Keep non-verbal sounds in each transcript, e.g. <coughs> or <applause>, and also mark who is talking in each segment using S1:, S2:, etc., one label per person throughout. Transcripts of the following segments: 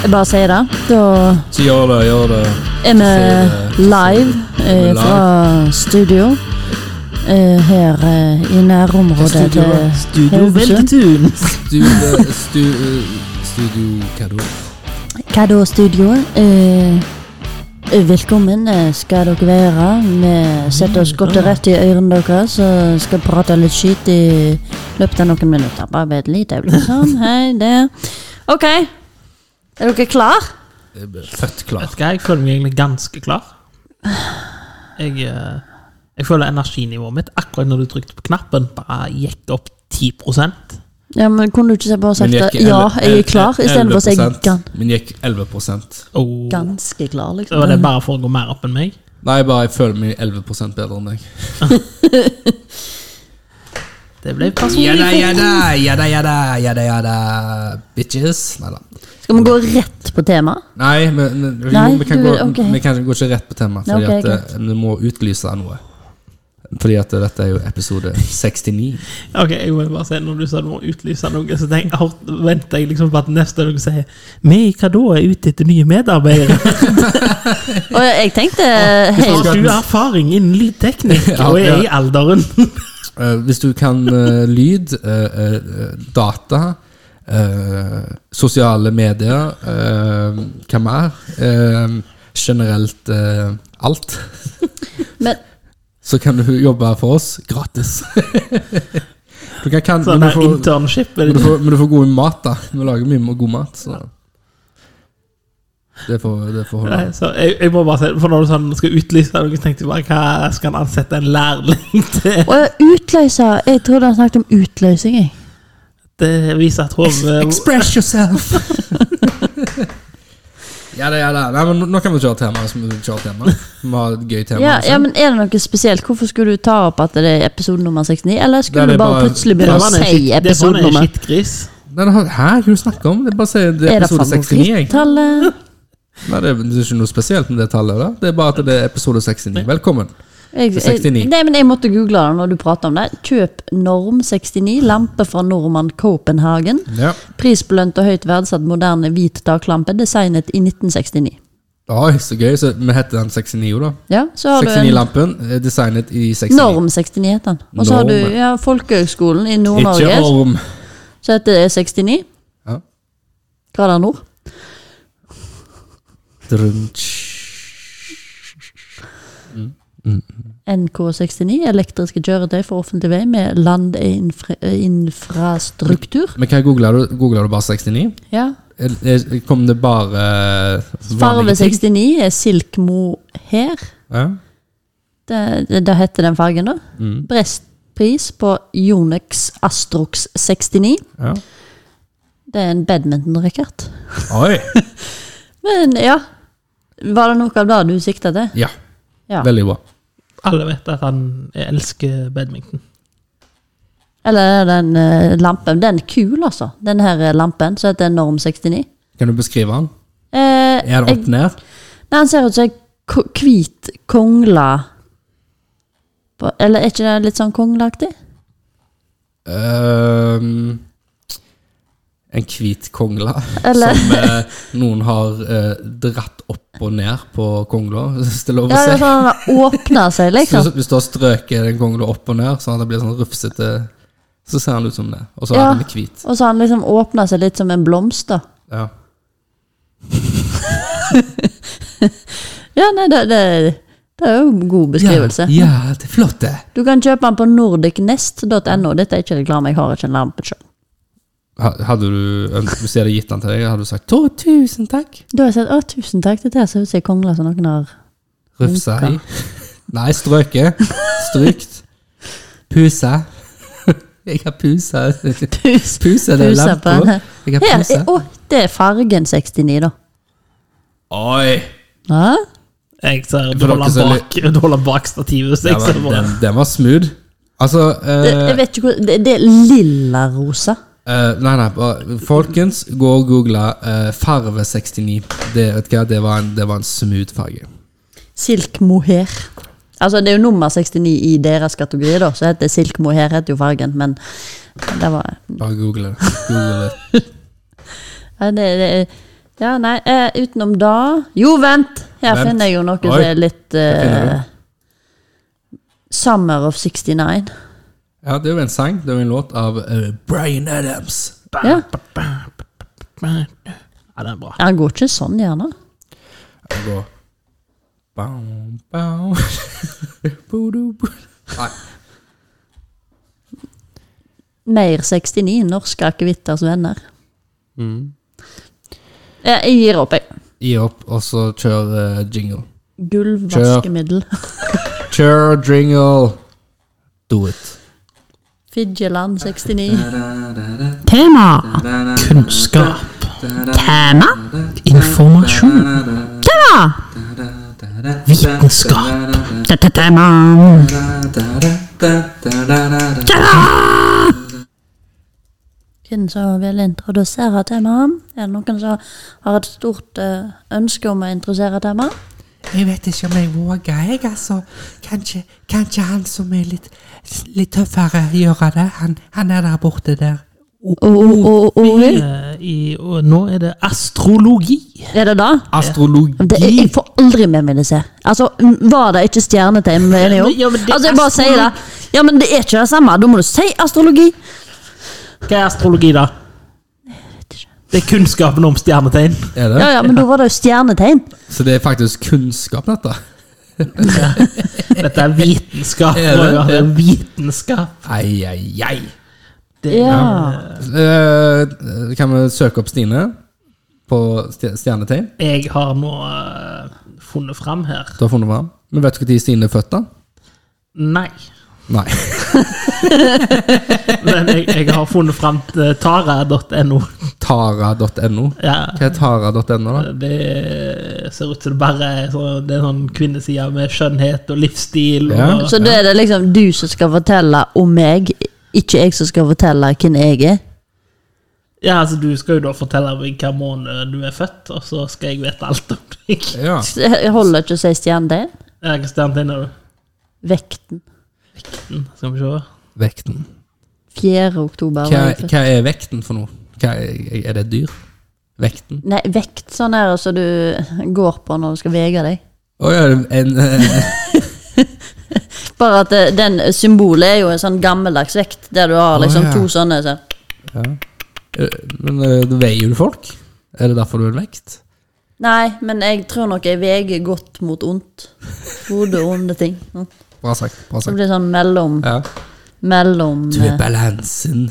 S1: Jeg bare sier det. Da
S2: Så gjør det, gjør det.
S1: er vi live eh, fra studio eh, her eh, i nærområdet
S3: Studio,
S1: til
S3: studio
S1: Haugesund.
S3: Veltetun.
S2: Stu, stu, studio Hva da?
S1: Hva da, studio? Eh, velkommen eh, skal dere være. Vi setter oss godt og rett i ørene deres og skal prate litt skit i løpet av noen minutter. Bare ved et lite øyeblikk. <laughs> Sånn, hei, det. Ok, er dere klar?
S2: Jeg ble født klar.
S3: <laughs> Vet du hva, jeg føler meg egentlig ganske klar. Jeg, eh, jeg føler energinivået mitt akkurat når du trykte på knappen, bare gikk opp 10
S1: Ja, men Kunne du ikke bare sagt
S2: Men
S1: det?
S2: gikk
S1: Ja,
S2: elle-
S1: jeg er klar,
S2: elle-
S1: istedenfor å si
S2: 11%.
S1: gan
S2: Men gikk 11
S3: Og det
S1: ganske klar, liksom.
S3: var det bare for å gå mer opp enn meg.
S2: Nei, bare jeg føler meg 11 bedre enn deg.
S3: Det ble sånn. personlig.
S2: jada, jada, jada, jada, jada, bitches. Nei da.
S1: Skal vi gå rett på tema?
S2: Nei, men, men jo,
S1: Nei,
S2: vi, kan
S1: du
S2: gå,
S1: vil- ok.
S2: vi kan gå ikke rett på temaet,
S1: Ja,
S2: fordi
S1: ok,
S2: at eh, vi må utlyse noe. Fordi at dette er jo episode 69.
S3: Ok, jeg må bare si, når du sa du må utlyse noe, så tenk, venter jeg liksom på at neste dere sier Vi, hva da, er ute etter nye medarbeidere?
S1: Og jeg tenkte
S3: Har
S1: helt
S3: du erfaring innen lydteknikk
S2: Ja,
S3: og er
S2: ja.
S3: i alderen?
S2: Eh, hvis du kan eh, lyd, eh, eh, data, eh, sosiale medier, eh, hva mer? Eh, generelt eh, alt.
S1: Men
S2: Så kan du jobbe for oss gratis. <laughs> du kan, kan,
S3: Sånn
S2: men,
S3: der
S2: du får,
S3: internship?
S2: men,
S3: er
S2: du
S3: det-
S2: får, men du får god mat, da. Vi lager mye god mat. Så. Det får, det får holde.
S3: Nei, så jeg, jeg må bare si, for Når du sånn skal utlyse noe, så tenkte jeg bare hva skal han ansette en lærling til?
S1: Å ja, utløser. Jeg trodde han snakket om utløsing, jeg.
S3: Det viser at <laughs> hodet
S2: Express yourself! <laughs> ja da, ja da. Nei, men nå- nå kan vi kjøre tema. Så må vi kjøre tema. Vi har et gøy tema.
S1: Ja,
S2: liksom.
S3: altså-
S1: ja, men Er det noe spesielt? Hvorfor skulle du ta opp at det er episode nummer 69? Eller
S2: Nei,
S1: skulle
S2: det
S1: du
S2: er
S1: bare
S2: bare-
S1: plutselig
S3: Det
S1: begynne å
S3: var en
S1: si
S3: skitt- sånn det var en
S1: episodenummer?
S3: skittgris.
S2: Nei, det har- Hæ, hva er det du snakker om? Det er bare å si det er
S1: Er det
S2: episode 69. Jeg.
S3: <laughs>
S1: favorittallet?
S2: Nei, det er, det er ikke noe spesielt med det tallet. da Det er bare at det er episode 69. Velkommen.
S1: Jeg, jeg,
S2: 69.
S1: nei, men jeg måtte google det når du prater om det. Kjøp Norm 69, lampe fra Norman Copenhagen.
S2: Ja.
S1: Prisbelønt og høyt verdsatt moderne hvit taklampe, designet i 1969.
S2: Oi, så gøy. Så vi heter den 69, jo, da.
S1: Ja, så har du en
S2: 69-lampen er designet i 69.
S1: Norm 69 heter den. Og så har du
S2: Norm,
S1: ja, Folkehøgskolen i
S2: Ikke
S1: Nord-Norge,
S2: orm.
S1: så heter det 69.
S2: Ja.
S1: Hva er det nord?
S2: Drunch.
S1: NK69, elektriske kjøretøy for offentlig vei med landinfrastruktur.
S2: Men hva googler du? Googler du bare 69?
S1: Ja.
S2: Er- er- Kom det bare eh,
S1: Farve
S2: vanlige ting?
S1: 69 er silkmo her.
S2: Ja. Mm,
S1: Det, det, det heter den fargen, da. Brestpris på Yonex Astrox 69.
S2: ja.
S1: Det er en badminton-racket.
S2: Oi!
S1: Men ja Var det noe av det du sikta til?
S2: Ja,
S1: Ja.
S2: veldig bra.
S3: Alle vet at han elsker badminton.
S1: Eller er den eh, lampen. Den er kul, altså. Den her eh, lampen som heter Norm 69.
S2: Kan du beskrive den?
S1: Eh,
S2: Er den
S1: jeg-
S2: opp ned?
S1: Nei, han ser ut som en ko- hvit kongle. På- Eller er ikke det litt sånn kongleaktig?
S2: Ehm, en hvit kongle
S1: Eller-
S2: som eh, noen har eh, dratt opp og ned på kongla. <laughs> Hvis det er lov å
S1: Ja, det
S2: si.
S1: er sånn at den åpner
S2: <laughs>
S1: seg,
S2: Så
S1: liksom.
S2: Hvis du har strøket den kongla opp og ned, sånn at det blir sånn rufsete, så ser den ut som det. Og så
S1: Ja.
S2: er den hvit.
S1: Og så har den liksom åpner seg litt som en blomst, da.
S2: Ja.
S1: Ja, nei, det, det, det er jo en god beskrivelse.
S2: Ja, ja, det er flott, det.
S1: Du kan kjøpe den på nordicnest.no. Dette er ikke reklame, jeg har ikke en lampe sjøl.
S2: Ha- Hadde du, øns- Hvis jeg hadde gitt den til deg, hadde du sagt 'Å, tusen takk'?
S1: Da har jeg sagt å, tusen takk, dette her ser ut som en kongle som noen har
S2: Rufsa i. <laughs> Nei, strøket. Strykt. Puse. Jeg har pusa.
S1: pus,
S2: Puse, det er
S1: pusa
S2: lampe.
S1: på den her.
S2: Jeg har
S1: Her,
S2: puse.
S1: er- å, det er fargen 69, da.
S2: Oi!
S1: Ja?
S3: Jeg ser, du
S2: For
S3: holder
S2: dere som
S3: han bak, du <laughs> holder han bak stativet. Så
S2: Den,
S3: jeg ser
S2: var-
S3: bare,
S2: den, den var smooth. Altså
S1: Det,
S2: eh,
S1: jeg vet ikke hvor, det, det er lillarosa.
S2: eh, Nei, nei. bare- Folkens, gå og google eh, farve 69. Det, vet du hva, det, var en, det var en smooth farge.
S1: Silk mohair. Altså, det er jo nummer 69 i deres kategori, da, så heter silk mohair heter jo fargen, men det var
S2: Bare google det. Google det.
S1: ja, det, det, Ja, nei, eh, utenom da Jo, vent! Her
S2: Vent.
S1: finner jeg jo noe som
S2: Oi.
S1: er litt eh, Summer of 69.
S2: Ja, det er jo en sang. Det er jo en låt av eh, Bryan Adams.
S1: Ja.
S3: Ja, den er bra.
S1: Han går ikke sånn, gjerne.
S2: Og går bam, <laughs> bam. Budu, bu- Nei.
S1: Mer 69, norske akevitters venner.
S2: Mm.
S1: Jeg, jeg gir opp, jeg.
S2: Gi opp, og så kjør eh, jingle.
S1: Gulvvaskemiddel.
S2: Kjør jingle! Do it.
S1: Fidjeland 69.
S3: Tema kunnskap. Tema informasjon. Tema vitenskap. Tema
S1: Hvem som vil introdusere temaet? Er det noen som har et stort eh, ønske om å introdusere temaet?
S4: Jeg vet ikke om jeg våger, jeg, altså. Kanskje, kanskje han som er litt, litt tøffere, gjør det. Han, han er der borte der.
S1: O- o- o- Oril?
S3: Eh, i, og nå er det astrologi.
S1: Er det da?
S2: Astrologi.
S1: Det, jeg får aldri med meg disse. Altså, m, Var det ikke stjernetegn vi er enige om?
S3: Ja, men det er
S1: Altså, jeg bare sier det.
S3: astrolog-
S1: Ja, men det er ikke det samme. Da må du si astrologi.
S3: Hva er astrologi, da? Det er kunnskapen om stjernetegn.
S2: Er det?
S1: Ja, ja, men da var det jo stjernetegn.
S2: Så det er faktisk kunnskap, dette?
S3: Dette er vitenskap.
S2: Er det?
S3: Roger. Det er vitenskap.
S2: Ai, ai, ai.
S3: Det er
S1: Ja.
S2: Eh, kan vi søke opp Stine på stje- stjernetegn?
S3: Jeg har nå eh, funnet fram her.
S2: Du har funnet fram. Men vet du når Stine er født, da?
S3: Nei.
S2: Nei. <laughs>
S3: Men jeg, jeg har funnet fram til tara.no.
S2: Tara.no.
S3: Ja,
S2: Hva er tara.no, da?
S3: det ser ut som det bare er sånn, det er sånn kvinneside med skjønnhet og livsstil.
S2: Ja.
S3: Og,
S1: Så da er det liksom du som skal fortelle om meg, ikke jeg som skal fortelle hvem jeg er.
S3: ja, altså Du skal jo da fortelle meg hva måned du er født, og så skal jeg vite alt om deg.
S2: Ja.
S1: Så Jeg <laughs> holder ikke å si stjernetegn.
S3: Ja, Hva stjernetegn er du?
S1: Vekten.
S3: Skal vi se.
S2: Vekten.
S1: 4. oktober. var
S2: Hva,
S1: jeg født.
S2: hva er vekten for noe? Hva er, er det et dyr? Vekten?
S1: Nei, vekt sånn er det som du går på når du skal veie deg.
S2: Å ja, en eh,
S1: Bare at eh, den symbolet er jo en sånn gammeldags vekt, der du har liksom
S2: ja.
S1: to sånne sånn
S2: eh, Men eh, du veier jo folk? Er det derfor du er en vekt?
S1: Nei, men jeg tror nok jeg veger godt mot ondt. Gode og onde ting. Mm.
S2: Bra sagt. bra
S1: Så
S2: sagt.
S1: blir det sånn mellom
S2: Ja.
S1: Mellom
S2: Du er
S1: eh,
S2: balansen.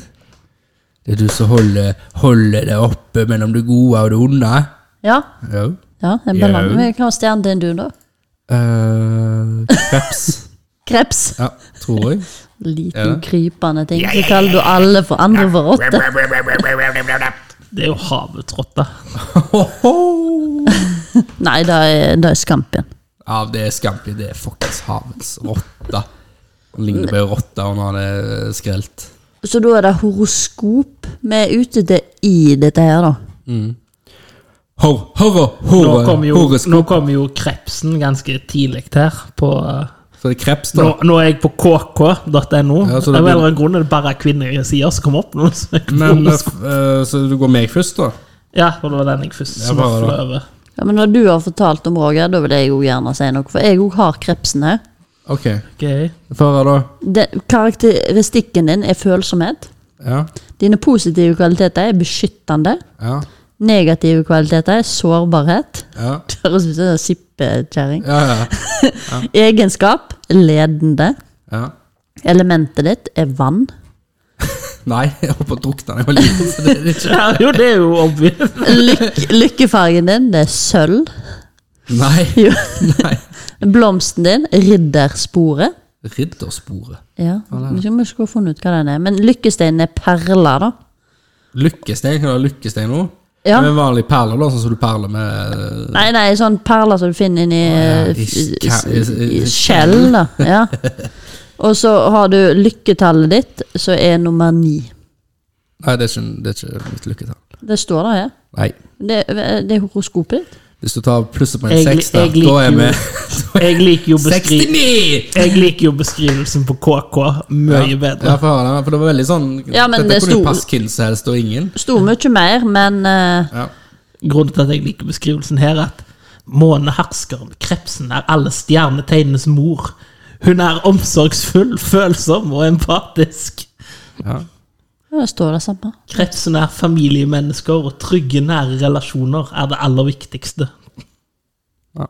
S2: Det er du som holder, holder det oppe mellom det gode og det onde.
S1: Ja,
S2: Ja.
S1: ja en
S2: Ja.
S1: mellom. Men Hva var stjernen din, du, da?
S2: Eh, kreps.
S1: Kreps?
S2: <laughs> ja, tror jeg.
S1: Liten krypende ting. Så kaller du alle for andre for rotte.
S3: Det er jo havets rotte.
S1: Nei, det er, det er skampen.
S2: <laughs> Ja, det er skamplig. Det er fuckings havets rotte. Han ligner på ei rotte og når han er skrelt.
S1: Så da er det horoskop vi er ute etter i dette her, da.
S2: Hor, horro,
S3: Nå
S2: horre,
S3: kom jo,
S2: horresko.
S3: nå kom jo krepsen ganske tidlig her. På, eh,
S2: Så det er kreps,
S3: nå,
S2: da.
S3: nå er jeg på kk.no.
S2: Ja, så
S3: Av
S2: det
S3: en
S2: blir-
S3: eller annen grunn er det bare kvinnesider som kommer opp. nå så
S2: <laughs>
S3: jeg-
S2: Men eh, f- eh, Så du går meg først, da?
S3: Ja, for det var den jeg først
S2: Ja, bare
S3: snøfla
S2: da.
S3: over.
S1: Ja, Men når du har fortalt om Roger, da vil jeg jo gjerne si noe, for jeg òg har krepsen her.
S2: Ok.
S3: Ok. <laughs>
S2: Få høre, da.
S1: Den, karakteristikken din er følsomhet.
S2: Ja.
S1: Dine positive kvaliteter er beskyttende.
S2: Ja.
S1: Negative kvaliteter er sårbarhet. <laughs>
S2: Ja.
S1: Det Høres ut som en sippekjerring.
S2: Ja. ja.
S1: Egenskap ledende.
S2: ja.
S1: Elementet ditt er vann.
S2: Nei, <laughs> jeg holdt på å drukne da jeg var liten. Så det er
S3: <laughs>
S2: ikke
S3: Ja, jo, det er jo obvious.
S1: Lyk lykkefargen din det er sølv.
S2: Nei.
S1: Jo.
S2: Nei.
S1: Blomsten din riddersporet.
S2: Riddersporet.
S1: Ja, Vi skal- vi skal finne ut hva den er. Men lykkesteinen er perler, da.
S2: Lykkestein. Kan du ha lykkestein nå?
S1: Ja.
S2: Med vanlige perler, da, sånn som du perler med eh,
S1: Nei, nei, sånn perler som du finner inni eh,
S2: i
S1: f-
S2: ka- i- i-
S1: i- i skjell, da.
S2: <laughs>
S1: Ja. Og så har du lykketallet ditt, som er nummer ni.
S2: Nei, det er ikke, det er ikke mitt lykketall.
S1: Det står der, ja.
S2: Nei.
S1: Det, det er horoskopet ditt.
S2: Hvis du tar plusset på en
S3: Jeg-
S2: seks, da,
S3: jeg liker
S2: da er vi
S3: <laughs> jo- Jeg liker jo, beskri
S2: 69!
S3: jeg liker jo beskrivelsen på KK mye
S2: Ja,
S3: bedre.
S2: for, å høre det, for det var veldig sånn
S1: Ja, men
S2: Dette
S1: det
S2: kunne jo
S1: sto-
S2: passe hvem som helst og ingen.
S1: Sto mye mer, men eh,
S2: Ja.
S3: grunnen til at jeg liker beskrivelsen her, at måneherskeren, krepsen, er alle stjerneteinenes mor. Hun er omsorgsfull, følsom og empatisk.
S2: Ja.
S1: Ja, Det står det samme.
S3: Krepsen er familiemennesker, og trygge, nære relasjoner er det aller viktigste.
S2: Ja.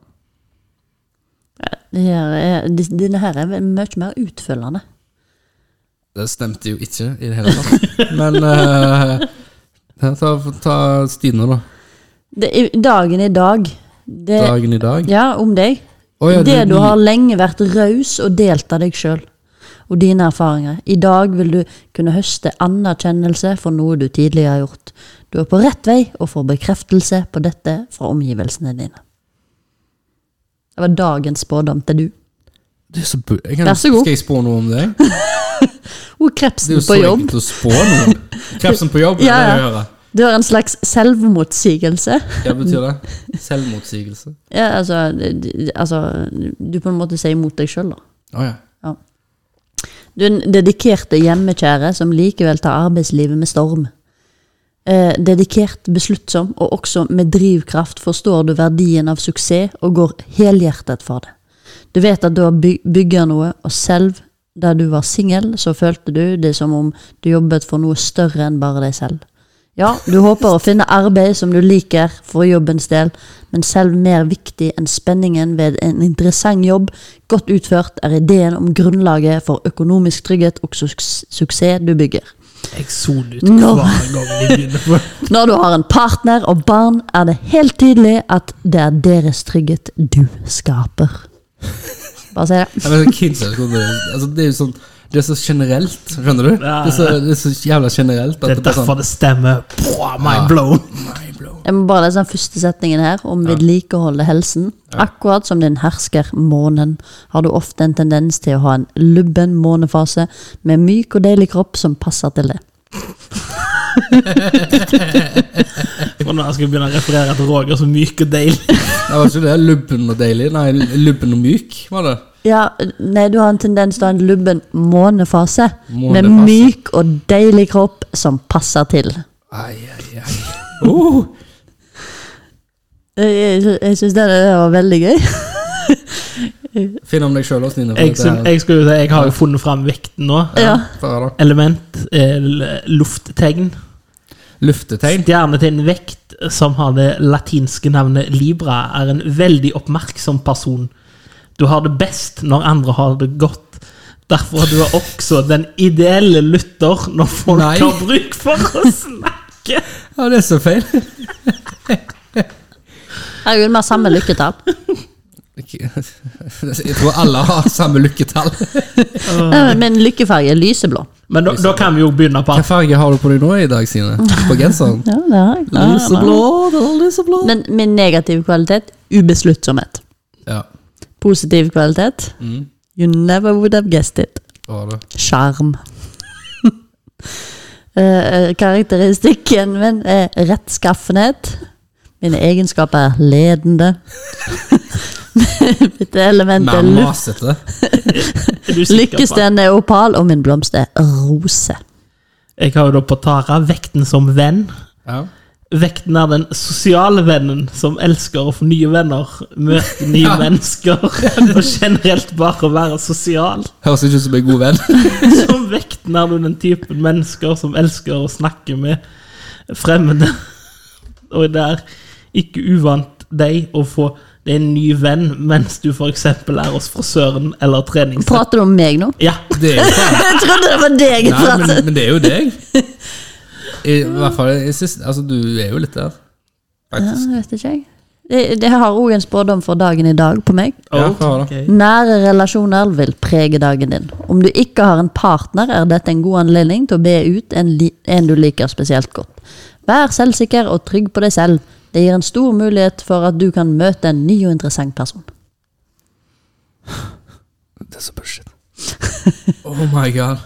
S1: Det her er- dis- Denne her er vel mye mer utfyllende.
S2: Det stemte jo ikke i det hele
S3: <laughs>
S2: tatt. Men eh, ta, ta Stine, da.
S1: Det, i- dagen i dag det,
S2: Dagen i dag.
S1: Eh, Ja, om deg.
S2: Å, ja,
S1: det
S2: det-
S1: du har lenge vært raus og delt av deg sjøl og dine erfaringer. I dag vil du kunne høste anerkjennelse for noe du tidligere har gjort. Du er på rett vei og får bekreftelse på dette fra omgivelsene dine. Det var dagens spådom til du.
S2: Det er så bu jeg kan,
S1: Vær så god.
S2: Skal jeg spå noe om
S1: <laughs>
S2: deg?
S1: Og
S2: Det er
S1: krepsen
S2: jo så
S1: Oh, på jobb.
S2: enkelt å spå noe. Krepsen på jobb,
S1: Ja,
S2: er det
S1: ja.
S2: jeg hører.
S1: Du har en slags selvmotsigelse.
S2: Hva betyr det? Selvmotsigelse.
S1: Ja, altså, det- det- altså Du på en måte sier imot deg sjøl, da.
S2: Å ja.
S1: Du er en dedikerte hjemmekjære som likevel tar arbeidslivet med storm. Eh, dedikert, besluttsom og også med drivkraft forstår du verdien av suksess og går helhjertet for det. Du vet at du har by- bygger noe, og selv da du var singel, så følte du det som om du jobbet for noe større enn bare deg selv. Ja, du håper å finne arbeid som du liker for jobbens del, men selv mer viktig enn spenningen ved en interessant jobb, godt utført, er ideen om grunnlaget for økonomisk trygghet og suks suksess du bygger.
S3: Jeg soner ut
S1: Nå.
S3: hver gang jeg begynner <laughs> på
S1: Når du har en partner og barn, er det helt tydelig at det er deres trygghet du skaper. Bare si det.
S2: Ja, men kids er jo sånn- altså, det er jo sånn Det er så generelt, skjønner du? Det
S3: Ja, ja.
S2: er så, det er så jævla generelt.
S3: Det er
S2: bare sånn-
S3: derfor det stemmer. Pwah, mind blown.
S1: Jeg må bare lese den første setningen her om vedlikeholde helsen. Akkurat som din hersker månen, har du ofte en tendens til å ha en lubben månefase med myk og deilig kropp som passer til det.
S3: For nå skal jeg begynne å referere til Roger som myk og deilig.
S2: Det var ikke det lubben og deilig. Nei, lubben og myk, var det.
S1: Ja, nei, du har en tendens til å ha en lubben månefase med
S2: Månefase.
S1: myk og deilig kropp som passer til.
S2: Ai, ai, ai. Oh,
S1: Jeg, jeg, jeg syns det der var veldig gøy.
S2: finn om deg sjøl, Stine. for
S3: Jeg,
S2: dette
S3: som,
S2: er-
S3: jeg, skulle jo si, jeg har jo funnet fram vekten nå.
S1: Ja.
S2: Hva er det?
S3: Element, eh, lufttegn.
S2: Luftetegn.
S3: Stjernetegn vekt, som har det latinske navnet Libra, er en veldig oppmerksom person. Du har det best når andre har det godt. Derfor er du også den ideelle lytter når folk
S2: Nei.
S3: har bruk for å snakke.
S2: Ja, det er så feil.
S1: Herregud, vi har samme lykketall.
S2: Jeg tror alle har samme lykketall.
S1: Nei, Eh, men Min lykkefarge er lyseblå.
S3: Men da, da kan vi jo begynne på
S2: Hva farge har du på deg nå i dag, Stine? På
S1: <laughs>
S2: genseren?
S1: Ja, det har jeg.
S2: Lyseblå, det er lyseblå.
S1: Men min negative kvalitet ubesluttsomhet.
S2: Ja,
S1: Positiv kvalitet
S2: Mm.
S1: You never would have guessed it.
S2: det var det.
S1: Sjarm. <laughs> Eh, eh, karakteristikken min er rettskaffenhet. Mine egenskaper er ledende. <laughs> Mitt element er
S2: Mer
S1: luft.
S2: masete.
S3: Er du sikker på-
S1: Lykkesteinen er opal, og min blomst er rose.
S3: Jeg har jo da på Tara vekten som venn.
S2: Ja.
S3: Vekten er den sosiale vennen som elsker å få nye venner, møte nye mennesker og generelt bare være sosial.
S2: Høres ikke ut som en god
S1: <laughs>
S2: venn.
S3: <laughs> Som vekten er du den typen mennesker som elsker å snakke med fremmede. Og det er ikke uvant deg å få deg en ny venn mens du f.eks. er hos frisøren eller treningssenter.
S1: Prater du om meg nå?
S3: Ja,
S2: Det er jo faen
S1: <laughs> Jeg trodde det var deg! jeg
S2: Nei,
S1: pratet.
S2: men, men det er jo deg.
S1: <laughs>
S2: I hvert fall jeg synes, altså, Du er jo litt der,
S1: Ja,
S2: faktisk.
S1: det vet ikke jeg. Det, det har òg en spådom for dagen i dag på meg.
S2: Ja, hva
S3: ok.
S1: Nære relasjoner vil prege dagen din. Om du ikke har en partner, er dette en god anledning til å be ut en, li en du liker spesielt godt. Vær selvsikker og trygg på deg selv. Det gir en stor mulighet for at du kan møte en ny og interessant person.
S2: Det er så bullshit. Oh my god.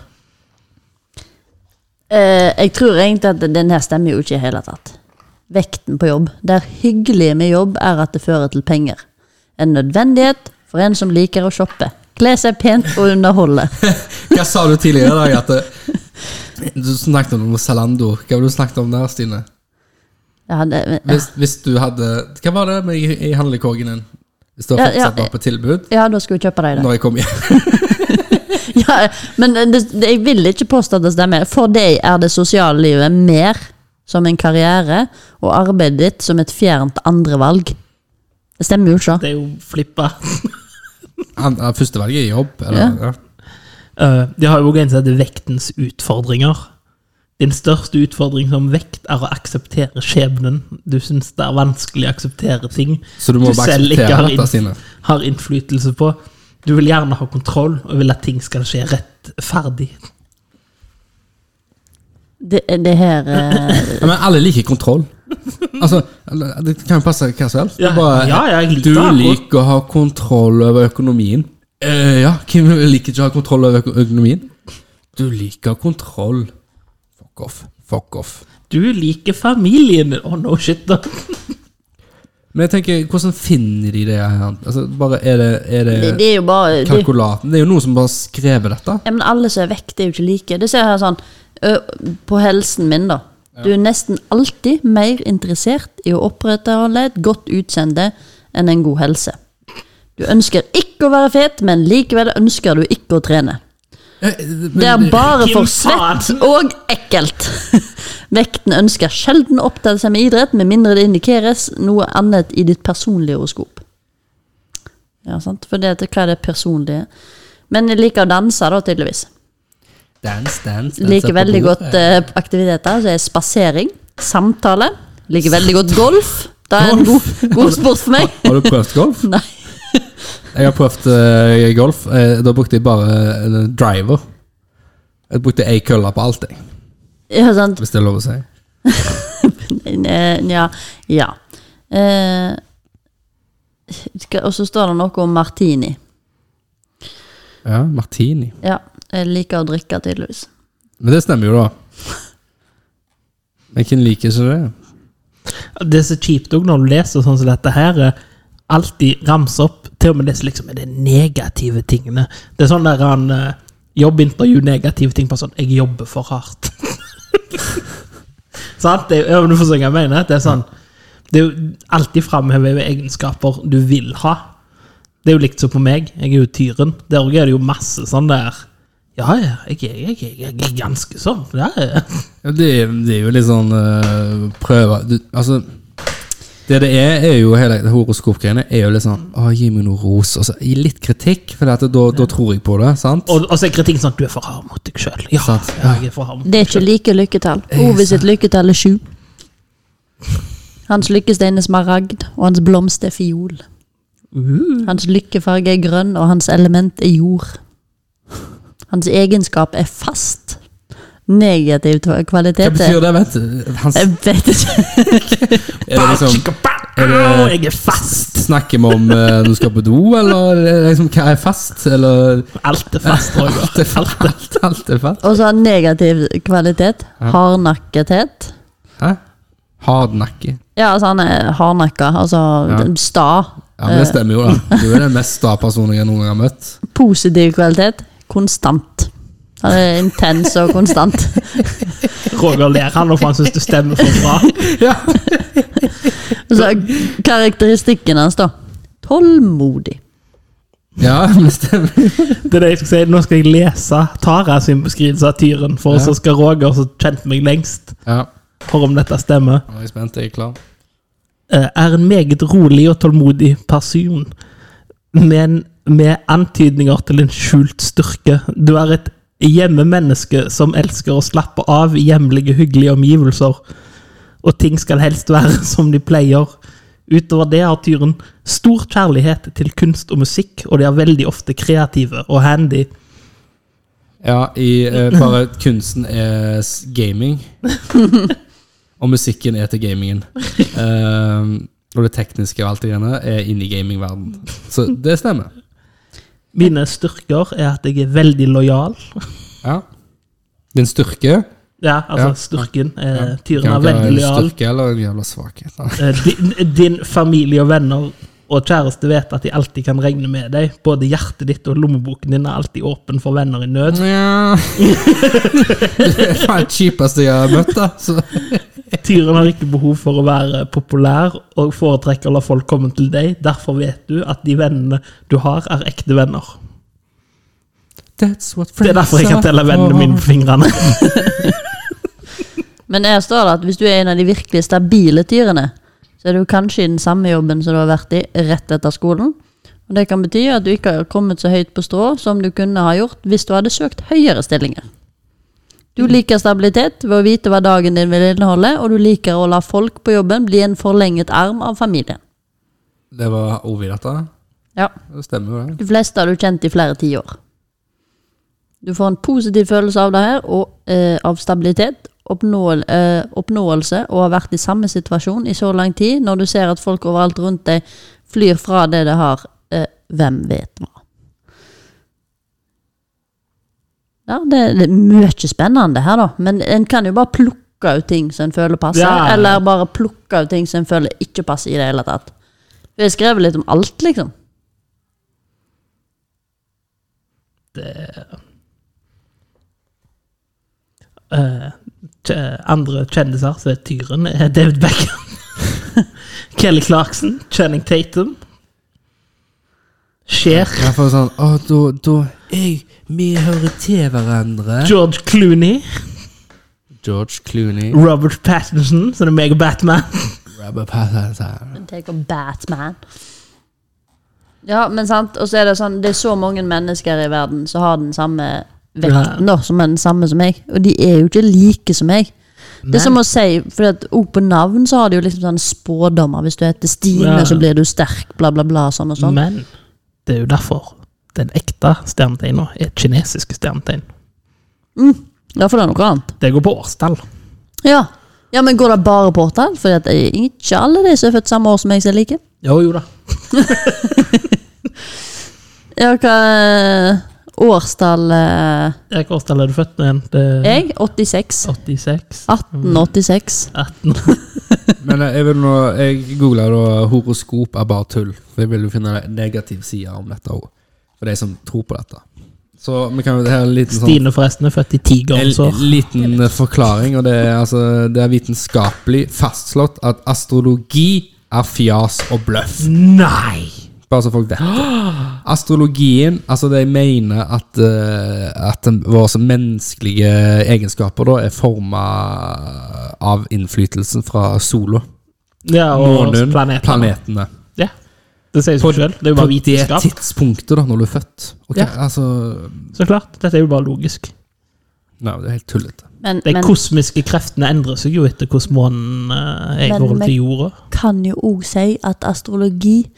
S1: Eh, jeg tror egentlig at den her stemmer jo ikke i hele tatt. Vekten på jobb. Det er hyggelige med jobb er at det fører til penger. En nødvendighet for en som liker å shoppe. Kle seg pent og underholde.
S2: Hva sa du
S1: <laughs>
S2: tidligere eh, i dag? At det, du snakket om noe Zalando. Hva var det du snakket om der, Stine?
S1: Ja, det,
S2: Hvis, hvis du hadde Hva var det med i, i handlekåken din? Hvis det
S1: Ja,
S2: fortsatt
S1: ja,
S2: var på tilbud
S1: ja da skal vi kjøpe deg det.
S2: når jeg kom hjem?
S1: <laughs>
S2: <laughs>
S1: Ja, men eh, det, det, jeg vil ikke påstå at det stemmer. For deg er det sosiale livet mer som en karriere, og arbeidet ditt som et fjernt andrevalg. Det stemmer jo ikke.
S3: Det er jo flippa.
S2: An- ja, Førstevalget er jobb. Eller, ja.
S3: Eh, de har jo også en som heter Vektens utfordringer. Din største utfordring som vekt er å akseptere skjebnen. Du syns det er vanskelig å akseptere ting
S2: Så du må
S3: Du
S2: bare
S3: selv ikke har
S2: akseptere dette
S3: innf-
S2: sine.
S3: har innflytelse på. Du vil gjerne ha kontroll og vil at ting skal skje rettferdig.
S1: Det, det her eh,
S2: Ja, men alle liker kontroll. Altså, eller, Det kan jo passe hva som helst. Det
S3: Ja,
S2: er bare-
S3: ja, jeg liker
S2: du
S3: akkurat-
S2: liker å ha kontroll over økonomien. Eh, ja, hvem liker ikke å ha kontroll over øko- økonomien? Du liker kontroll. Fuck off. Fuck off.
S3: Du liker familien din. Å, no shit, da.
S2: Men jeg tenker, hvordan finner de det her? Altså, bare er det, er
S1: det,
S2: det
S1: det er jo bare det,
S2: kalkulaten? Det er jo noen som bare har skrevet dette.
S1: ja, Men alle som er vekk, det er jo ikke like. Det ser jeg her sånn ø, På helsen min, da. Du er nesten alltid mer interessert i å opprettholde et godt utseende enn en god helse. Du ønsker ikke å være fet, men likevel ønsker du ikke å trene.
S2: Eh, men-
S1: Det er bare
S3: Kim
S1: for svett
S3: Faen.
S1: og ekkelt. <laughs> Vekten ønsker sjelden å oppdage seg med idrett, med mindre det indikeres noe annet i ditt personlige horoskop. Ja, sant? For det, hva er det personlige? Men jeg liker å danse, da, tydeligvis.
S2: Dans, dans, dans
S1: Liker
S2: på
S1: veldig
S2: bordet.
S1: godt eh, aktiviteter. Så er spasering, samtale. Liker veldig godt golf. Det er en god, god sport
S2: <laughs>
S1: for meg.
S2: Har du prøvd golf?
S1: Nei.
S2: Jeg har prøvd eh, golf. Eh, da brukte jeg bare eh, driver. Jeg brukte ei kølle på alt, jeg,
S1: Ja, sant?
S2: hvis det er lov å si.
S1: Eh, Nja, ja. Eh, skal- og så står det noe om martini.
S2: Ja, Martini.
S1: Ja, jeg liker å drikke tydeligvis.
S2: Men det stemmer jo, da. Men hvem liker ikke det?
S3: Det er så kjipt òg når du leser sånn som dette her. eh, Alltid ramse opp til og med det som liksom er de negative tingene. Det er sånn der han eh, jobbintervju negative ting på sånn 'Jeg jobber for hardt'. <laughs> Sant? Det er jo- ja, men du forstår hva jeg mener. Det er sånn Det er jo alltid framhever egenskaper du vil ha. Det er jo likt som på meg. Jeg er jo tyren. Der òg er det jo masse sånn der Ja, ja, jeg, er- jeg, er- jeg er ganske sånn. Ja, ja.
S2: Ja, Det, er- det er jo litt sånn uh, prøver du, Altså Det det er, er jo hele horoskopgreiene er jo litt sånn Å, gi meg noe ros. Og så gi litt kritikk, for at da, da tror jeg på det. sant?
S3: Og, og så er kritikken sånn at du er for hard mot deg sjøl. Ja,
S2: Sant.
S3: ja, jeg er for hard mot
S1: Det er ikke like lykketall. Ove sitt lykketall er sju. Hans lykkestein er smaragd, og hans blomst er fiol.
S2: Uh.
S1: Hans lykkefarge er grønn, og hans element er jord. Hans egenskap er fast. Negativ t-
S2: Hva
S1: kvalitet er
S2: betyr
S1: <laughs>
S2: det? Vet du? Hans,
S1: Jeg vet ikke.
S2: er det liksom
S3: Au, jeg er fast!
S2: Snakker vi om eh, når du skal på do, eller er det liksom, hva er fast? Eller
S3: Alt er
S2: <laughs>
S3: fast, Roger.
S2: alt er fast? Alt, alt er fast.
S1: Og så har han negativ kvalitet. Hardnakkethet.
S2: Hæ? Hardnakke.
S1: Ja, altså han er hardnakka, altså
S2: Ja.
S1: sta.
S2: Ja, men det stemmer jo, da. Du er den mest sta personen jeg noen gang har møtt.
S1: Positiv kvalitet. Konstant. Han er intens og konstant.
S3: Roger ler han nå, for han syns du stemmer for bra.
S1: Så karakteristikken hans, da. Tålmodig.
S2: Ja, <laughs> men det stemmer.
S3: Det er det jeg skal si. Nå skal jeg lese Tara sin beskrivelse av tyren, for så skal Roger, som kjente meg lengst,
S2: Ja,
S3: for om dette stemmer.
S2: nå er jeg spent. Jeg er klar.
S3: eh, er en meget rolig og tålmodig person, men med antydninger til en skjult styrke. Du er et hjemmemenneske som elsker å slappe av i hjemlige, hyggelige omgivelser, og ting skal helst være <laughs> som de pleier. Utover det har tyren stor kjærlighet til kunst og musikk, og de er veldig ofte kreative og handy.
S2: Ja, i, eh, bare kunsten er s- gaming. Og musikken er til gamingen. Ehm, og det tekniske og alt det greiene er inne i gamingverden. Så det stemmer.
S3: Mine styrker er at jeg er veldig lojal.
S2: Ja. Din styrke
S3: Ja, altså
S2: Ja.
S3: styrken. Eh,
S2: Kan
S3: tyren
S2: ikke
S3: er
S2: være
S3: veldig
S2: en
S3: lojal.
S2: Styrke eller en jævla svakhet. Nei.
S3: Eh, din, din familie og venner og kjæreste vet at de alltid kan regne med deg. Både hjertet ditt og lommeboken din er alltid åpen for venner i nød. <laughs>
S2: Nja Det er faen det kjipeste jeg har møtt, da. Så.
S3: Tyren har ikke behov for å være populær og foretrekker å la folk komme til deg. Derfor vet du at de vennene du har, er ekte venner.
S4: That's what
S3: Det er derfor jeg kan telle vennene mine på fingrene. <laughs>
S1: Men her står det at hvis du er en av de virkelig stabile tyrene, så er du kanskje i den samme jobben som du har vært i rett etter skolen. Og det kan bety at du ikke har kommet så høyt på strå som du kunne ha gjort hvis du hadde søkt høyere stillinger. Du liker stabilitet ved å vite hva dagen din vil inneholde, og du liker å la folk på jobben bli en forlenget arm av familien.
S2: Det var Ovi, dette.
S1: Ja.
S2: Det stemmer jo, det.
S1: De fleste har du kjent i flere tiår. Du får en positiv følelse av det her, og eh, av stabilitet, oppnåel, eh, oppnåelse, og har vært i samme situasjon i så lang tid, når du ser at folk overalt rundt deg flyr fra det de har. Eh, hvem vet hva? Ja, det, det er mye spennende her, da. Men en kan jo bare plukke ut ting som en føler passer,
S3: Ja.
S1: eller bare plukke ut ting som en føler ikke passer i det hele tatt. Vi har skrevet litt om alt, liksom.
S3: Eh, kje- andre kjendiser som er Tyren, er David Beckham. <laughs> Kelly Clarkson. Channing Tatum. Cher.
S2: Jeg får sånn Å, da, da jeg, Vi hører til hverandre.
S3: George Clooney.
S2: George Clooney.
S3: Robert Pattinson, som er meg og Batman.
S2: Robert Pattinson.
S1: Take on Batman. Ja, men sant, og så er det sånn Det er så mange mennesker i verden som har den samme vekten, da, som er den samme som meg. Og de er jo ikke like som meg. Det er som å si, for at også på navn så har de jo liksom sånne spådommer. Hvis du heter Stine,
S3: Ja.
S1: så blir du sterk, bla, bla, bla, sånn og sånn.
S3: Men det er jo derfor den ekte stjernetegna er kinesiske stjernetegn.
S1: Ja, for det er noe annet.
S3: Det går på årstall.
S1: Ja, ja men går det bare på årstall? For at eh, ikke alle de som er født samme år som meg, som er like.
S3: Jo, jo da.
S1: Ja, hva eh, årstall eh,
S3: Hvilket årstall er du født med igjen? Det er
S1: Jeg? 86.
S3: 86?
S1: 1886.
S3: 18?
S1: Sånn.
S2: Men eh, jeg vil nå Jeg googla da 'horoskop er bare tull'. For jeg vil jo finne en negativ side om dette òg. For de som tror på dette. Så vi kan jo her er en liten sånn
S3: Stine forresten er født i tigerens
S2: En
S3: år.
S2: liten eh, forklaring, og det er, altså, det er vitenskapelig fastslått at astrologi er fjas og bløff.
S3: Nei!
S2: Bare så folk vet det. Astrologien, altså de mener at, eh, at den- våre menneskelige egenskaper da er forma av innflytelsen fra sola.
S3: Ja, og
S2: Månen,
S3: planetene.
S2: planetene.
S3: Ja. Det sier seg selv. Det er jo
S2: På
S3: bare
S2: det
S3: vitenskap.
S2: tidspunktet da, når du er født. Ok,
S3: Ja.
S2: altså,
S3: Så klart. Dette er jo bare logisk.
S2: nei, det er helt tullete.
S1: Men,
S3: De
S1: men
S3: kosmiske kreftene endrer seg jo etter hvordan månen eh, er i
S1: Men-
S3: forhold
S1: men-
S3: til jorda.
S1: kan jo òg si at astrologi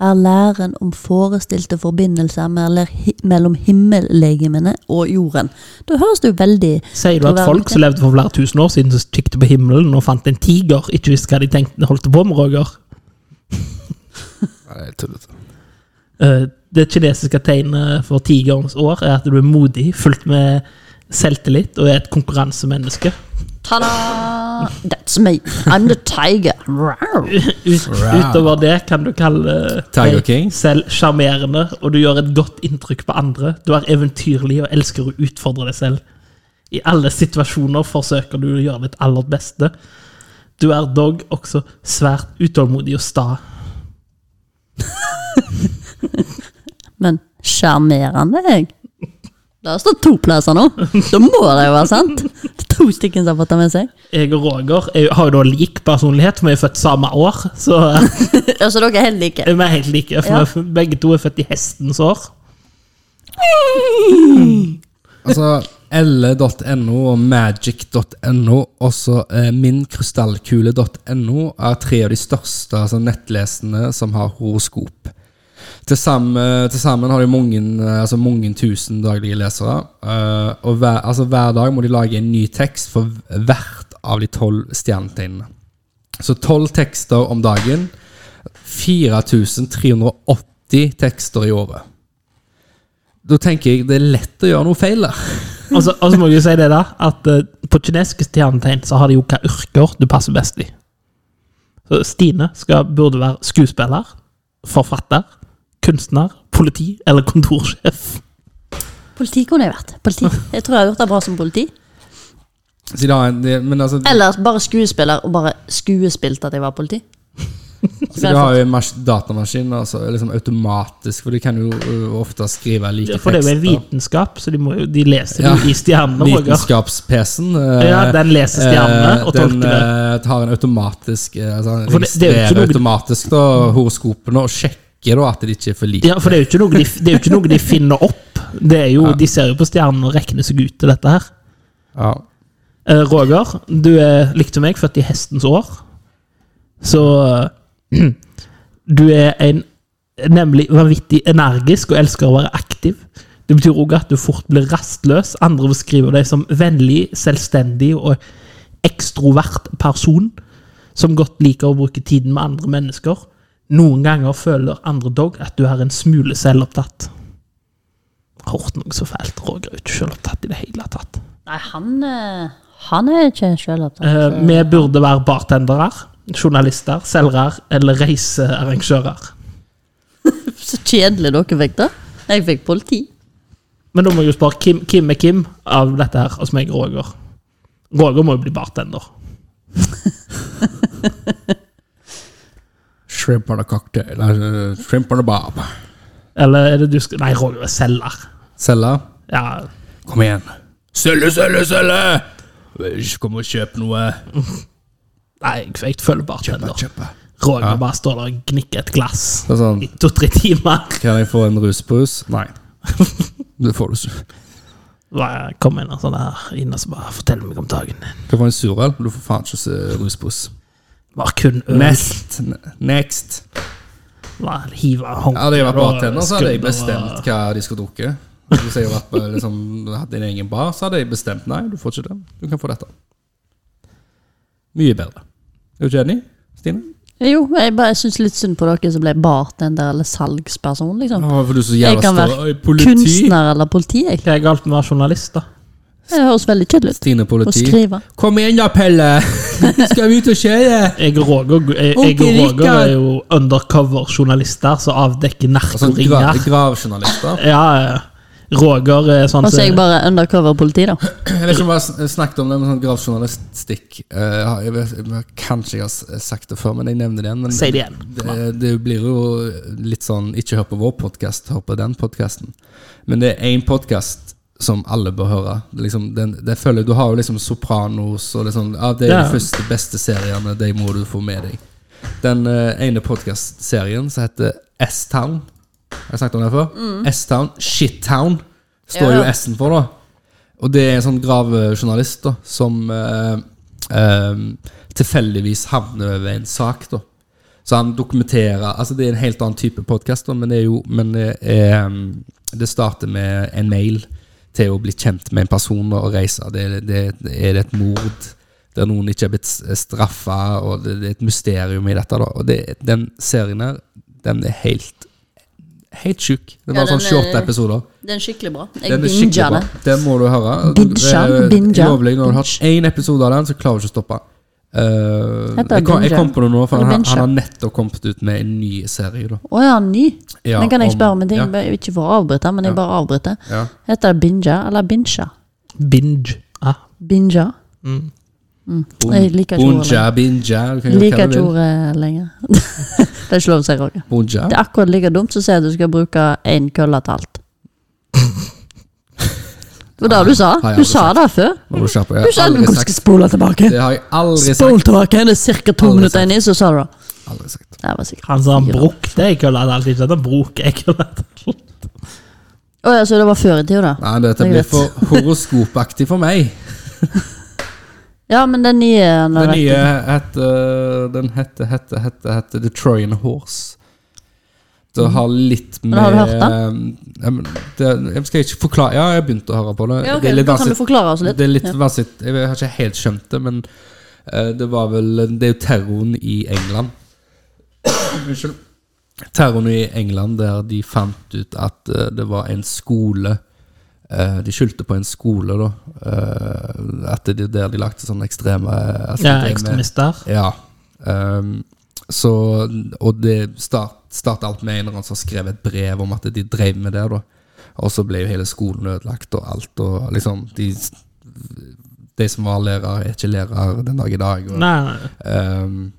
S1: er læren om forestilte forbindelser mellom hi- mellom himmellegemene og jorden. Da høres det jo veldig
S3: Sier du at
S1: troverdig
S3: folk
S1: ut.
S3: som levde for flere tusen år siden, som kikket på himmelen og fant en tiger, ikke visste hva de tenkte holdt på med, Roger?
S2: Nei, det er helt tullete.
S3: Eh, Det kinesiske tegnet for tigerens år er at du er modig, fullt med selvtillit og er et
S2: <laughs>
S3: konkurransemenneske.
S1: Ta-da! That's me. I'm the tiger.
S3: Ut, utover det kan du kalle
S2: Tiger
S3: deg
S2: King?
S3: selv sjarmerende, og du gjør et godt inntrykk på andre. Du er eventyrlig og elsker å utfordre deg selv. I alle situasjoner forsøker du å gjøre ditt aller beste. Du er dog også svært utålmodig og sta.
S1: Men sjarmerende, jeg. Det har stått to plasser nå. Da må det jo være sant. Det er To stykker som har fått det med seg.
S3: Jeg og Roger er, har jo da lik personlighet, vi er født samme år, så <laughs>
S1: Altså, dere er helt like.
S3: vi er helt like. For
S1: Ja.
S3: vi er f- begge to er født i hestens år.
S2: Altså elle.no og magic.no og så eh, minkrystallkule.no er tre av de største altså, nettlesene som har horoskop. Til sammen, til sammen har de mange, eh, altså, mange tusen daglige lesere. eh, og hver, altså, hver dag må de lage en ny tekst for hvert av de tolv stjernetegnene. Så tolv tekster om dagen. 4380 tekster i året. Da tenker jeg det er lett å gjøre noe feil der.
S3: Og så Altså, og så må jeg jo si det, da, at eh, på kinesiske stjernetegn så har de jo hva yrker du passer best i. Så Stine skal, burde være skuespiller, forfatter, kunstner, politi eller kontorsjef.
S1: Politi kunne jeg vært. Politi. Jeg tror jeg har gjort det bra som politi.
S2: Så da, det, men altså,
S1: Eller bare skuespiller, og bare skuespilt at jeg var politi.
S2: så de har jo en mas- datamaskin altså, liksom automatisk, for de kan jo ø, ofte skrive like
S3: For det er jo en
S2: tekster.
S3: vitenskap, så de, må, jo- de leser
S2: Ja.
S3: det jo i stjerner. Roger.
S2: Vitenskaps-PC-en eh,
S3: Ja, den leser stjerner
S2: eh,
S3: og
S2: den,
S3: tolker det.
S2: eh, tar en automatisk eh, altså, den
S3: For det- det er jo ikke
S2: Registrerer
S3: noe-
S2: automatisk da, horoskopene og sjekker da, at de ikke er for like.
S3: Ja, for det er jo ikke noe de, det er jo ikke noe de finner opp. Det er jo, De ser jo på stjernene og regner seg ut til dette her.
S2: Ja.
S3: Eh, Roger, du er likte meg, født i hestens år. Så <clears throat> eh, du er en nemlig vanvittig energisk og elsker å være aktiv. Det betyr òg at du fort blir rastløs. Andre beskriver deg som vennlig, selvstendig og ekstrovert person som godt liker å bruke tiden med andre mennesker. Noen ganger føler andre dog at du er en smule selvopptatt. Har hørt noe så fælt. Roger er jo ikke selvopptatt i det hele tatt.
S1: Nei, han eh, Han er ikke sjølopptatt.
S3: Eh, vi burde være bartendere, journalister, selgere eller reisearrangører.
S1: Så kjedelig dere fikk det. Jeg fikk politi.
S3: Men da må jeg jo spørre Kim, Kim er Kim av dette her, altså meg Roger. Roger må jo bli bartender.
S2: Shrimp on a cocktail eller, eh, Shrimp on a bob.
S3: Eller er det du skal Nei, Roger er selger.
S2: Selge.
S3: Ja,
S2: Kom igjen. Selge, selge, selge! Ikke Kom og kjøp noe.
S3: nei, jeg, jeg føler bartender.
S2: Kjøpe.
S3: Roger
S2: Ja.
S3: bare står der og gnikker et glass
S2: Det er sånn
S3: i to-tre timer.
S2: Kan jeg få en rusbrus? Nei. <laughs> Det får du ikke.
S3: Bare Kom inn og sånn der inn og så bare fortell meg om dagen din.
S2: Du får en surøl. Du får faen ikke se rusbrus.
S3: Bare kun øl.
S2: Next. Next.
S3: Bare Hive håndkle
S2: Hadde jeg vært
S3: og
S2: bartender, så hadde jeg
S3: skuldre og-
S2: bestemt hva de skulle drukke. Hvis jeg hadde vært på, liksom, hadde en egen bar, så hadde jeg bestemt Nei, du får ikke det. Du kan få dette. Mye bedre. Er du ikke enig, Stine?
S1: Jo, jeg bare syns litt synd på dere som ble bartender eller salgsperson, liksom.
S2: Å, for du er så
S1: Jeg
S2: jævla
S1: kan
S2: stå.
S1: være
S2: Politi.
S1: kunstner eller politi, jeg.
S3: Hva er galt med å være journalist, da?
S1: Det høres veldig kjedelig ut.
S2: Stine
S1: Å
S2: politi.
S1: skrive.
S2: Kom igjen da, Pelle! <laughs> Skal vi ut og kjøre?
S3: Jeg og Roger, jeg, jeg og
S2: Onkel
S3: Roger
S2: Rikard.
S3: er jo undercover-journalister som avdekker
S2: Altså, gra
S3: narkoringer.
S2: Gravjournalister.
S3: Ja, ja. Roger er sånn
S1: Og så er Altså, jeg
S3: som
S1: bare undercover-politi, da.
S2: Jeg vet ikke om jeg har sn- snakket om det med sånn gravjournalistikk. Eh, jeg, vet, jeg Kanskje jeg har s- sagt det før, men jeg nevner det igjen. Men
S3: Si det igjen.
S2: Det, det blir jo litt sånn Ikke hør på vår podkast, hør på den podkasten. Men det er én podkast som alle bør høre. Det er liksom, den, det føler jeg- Du har jo liksom Sopranos og liksom, ja, Det er
S3: Ja.
S2: de første beste seriene. De må du få med deg. Den eh, ene podkastserien som heter S-Town. Har jeg snakket om det før? S-Town. Shit-Town står
S1: Ja.
S2: jo S-en for, da. Og det er en sånn gravejournalist da, som eh, eh, tilfeldigvis havner over en sak. da. Så han dokumenterer altså Det er en helt annen type podkast, men, det, er jo, men det, er, um, det starter med en mail til å bli kjent med en person da, og reise. Det, er- det, det, er det et mord der noen ikke er blitt straffa, og det, det er et mysterium i dette. da. Og det, Den serien her, den er helt Helt sjuk. Det var
S1: Ja,
S2: sånn
S1: den er-
S2: 28 episoder.
S1: Den er skikkelig bra. Jeg
S2: Den er skikkelig
S1: binger
S2: bra.
S1: den.
S2: Den må du høre.
S1: Binge,
S2: Det er
S1: binge,
S2: Lovlig når du har
S1: binge.
S2: hatt én episode av den, så klarer du ikke å stoppe. Eh,
S1: Heter
S2: jeg, kom, jeg
S1: binge.
S2: kom på det nå, for
S1: Eller
S2: han,
S1: binge.
S2: han har nettopp kommet ut med en ny serie. Da.
S1: Å ja, ny?
S2: Ja,
S1: Den kan jeg
S2: om-
S1: spørre om en ting.
S2: ja.
S1: bare Ikke for å avbryte, men jeg bare avbryter.
S2: Ja.
S1: Heter det binja eller bincha?
S3: binge. Ja.
S1: Binja? Jeg liker ikke ordet
S2: Bunja, binja du kan gjøre
S1: Liker ikke
S2: hva du vil.
S1: ordet lenger. <laughs> det er ikke lov å si, Roger.
S2: Bunja.
S1: Det er akkurat like dumt som å si at du skal bruke én kølle til alt. Det var det du sa.
S2: Har jeg
S1: Du
S2: aldri
S1: sa det før.
S2: Må du kjappe,
S1: Du
S2: jeg
S1: sa
S2: har
S1: at du
S2: aldri
S1: skal
S2: sagt
S1: spole tilbake.
S2: Det har jeg aldri
S1: Spol
S2: sagt.
S1: tilbake, det er ca. to
S2: Aldri
S1: minutter
S2: sagt.
S1: inni, så sa du det.
S2: Aldri sagt.
S1: Det var sikkert
S3: Han sa han
S1: fire.
S3: brukte jeg kølla alt, ikke at han bruker jeg kølla
S1: Å ja, så det var før i tida, da.
S2: Nei, dette
S1: Jeg
S2: blir
S1: vet.
S2: for horoskopaktig for meg.
S1: Ja, men den nye han har
S2: Den
S1: vært-
S2: nye heter Den heter, heter, heter, heter The Trojan Horse. Det har litt med
S1: Mm.
S2: eh,
S1: Men har du hørt
S2: Ja, men det, jeg skal ikke forklare Ja, jeg begynte å høre på det.
S1: Ja, ok,
S2: det er litt
S1: da kan du
S2: vanskelig
S1: forklare oss litt.
S2: Det er litt
S1: Ja.
S2: vanskelig Jeg har ikke helt skjønt det, men eh, det var vel Det er jo terroren i England. <coughs> Unnskyld. Terroren i England der de fant ut at eh, det var en skole eh, De skyldte på en skole, da. eh, at det er der de lagde sånne ekstreme altså,
S3: Ja,
S2: det med-
S3: ekstremister.
S2: ja. Ehm, så Og det start starta alt med en eller annen som skrev et brev om at de drev med det. da. Og så ble jo hele skolen ødelagt og alt. og liksom, De, de som var lærere, er ikke lærere den dag i dag. og...
S3: Nei, nei.
S2: Ehm,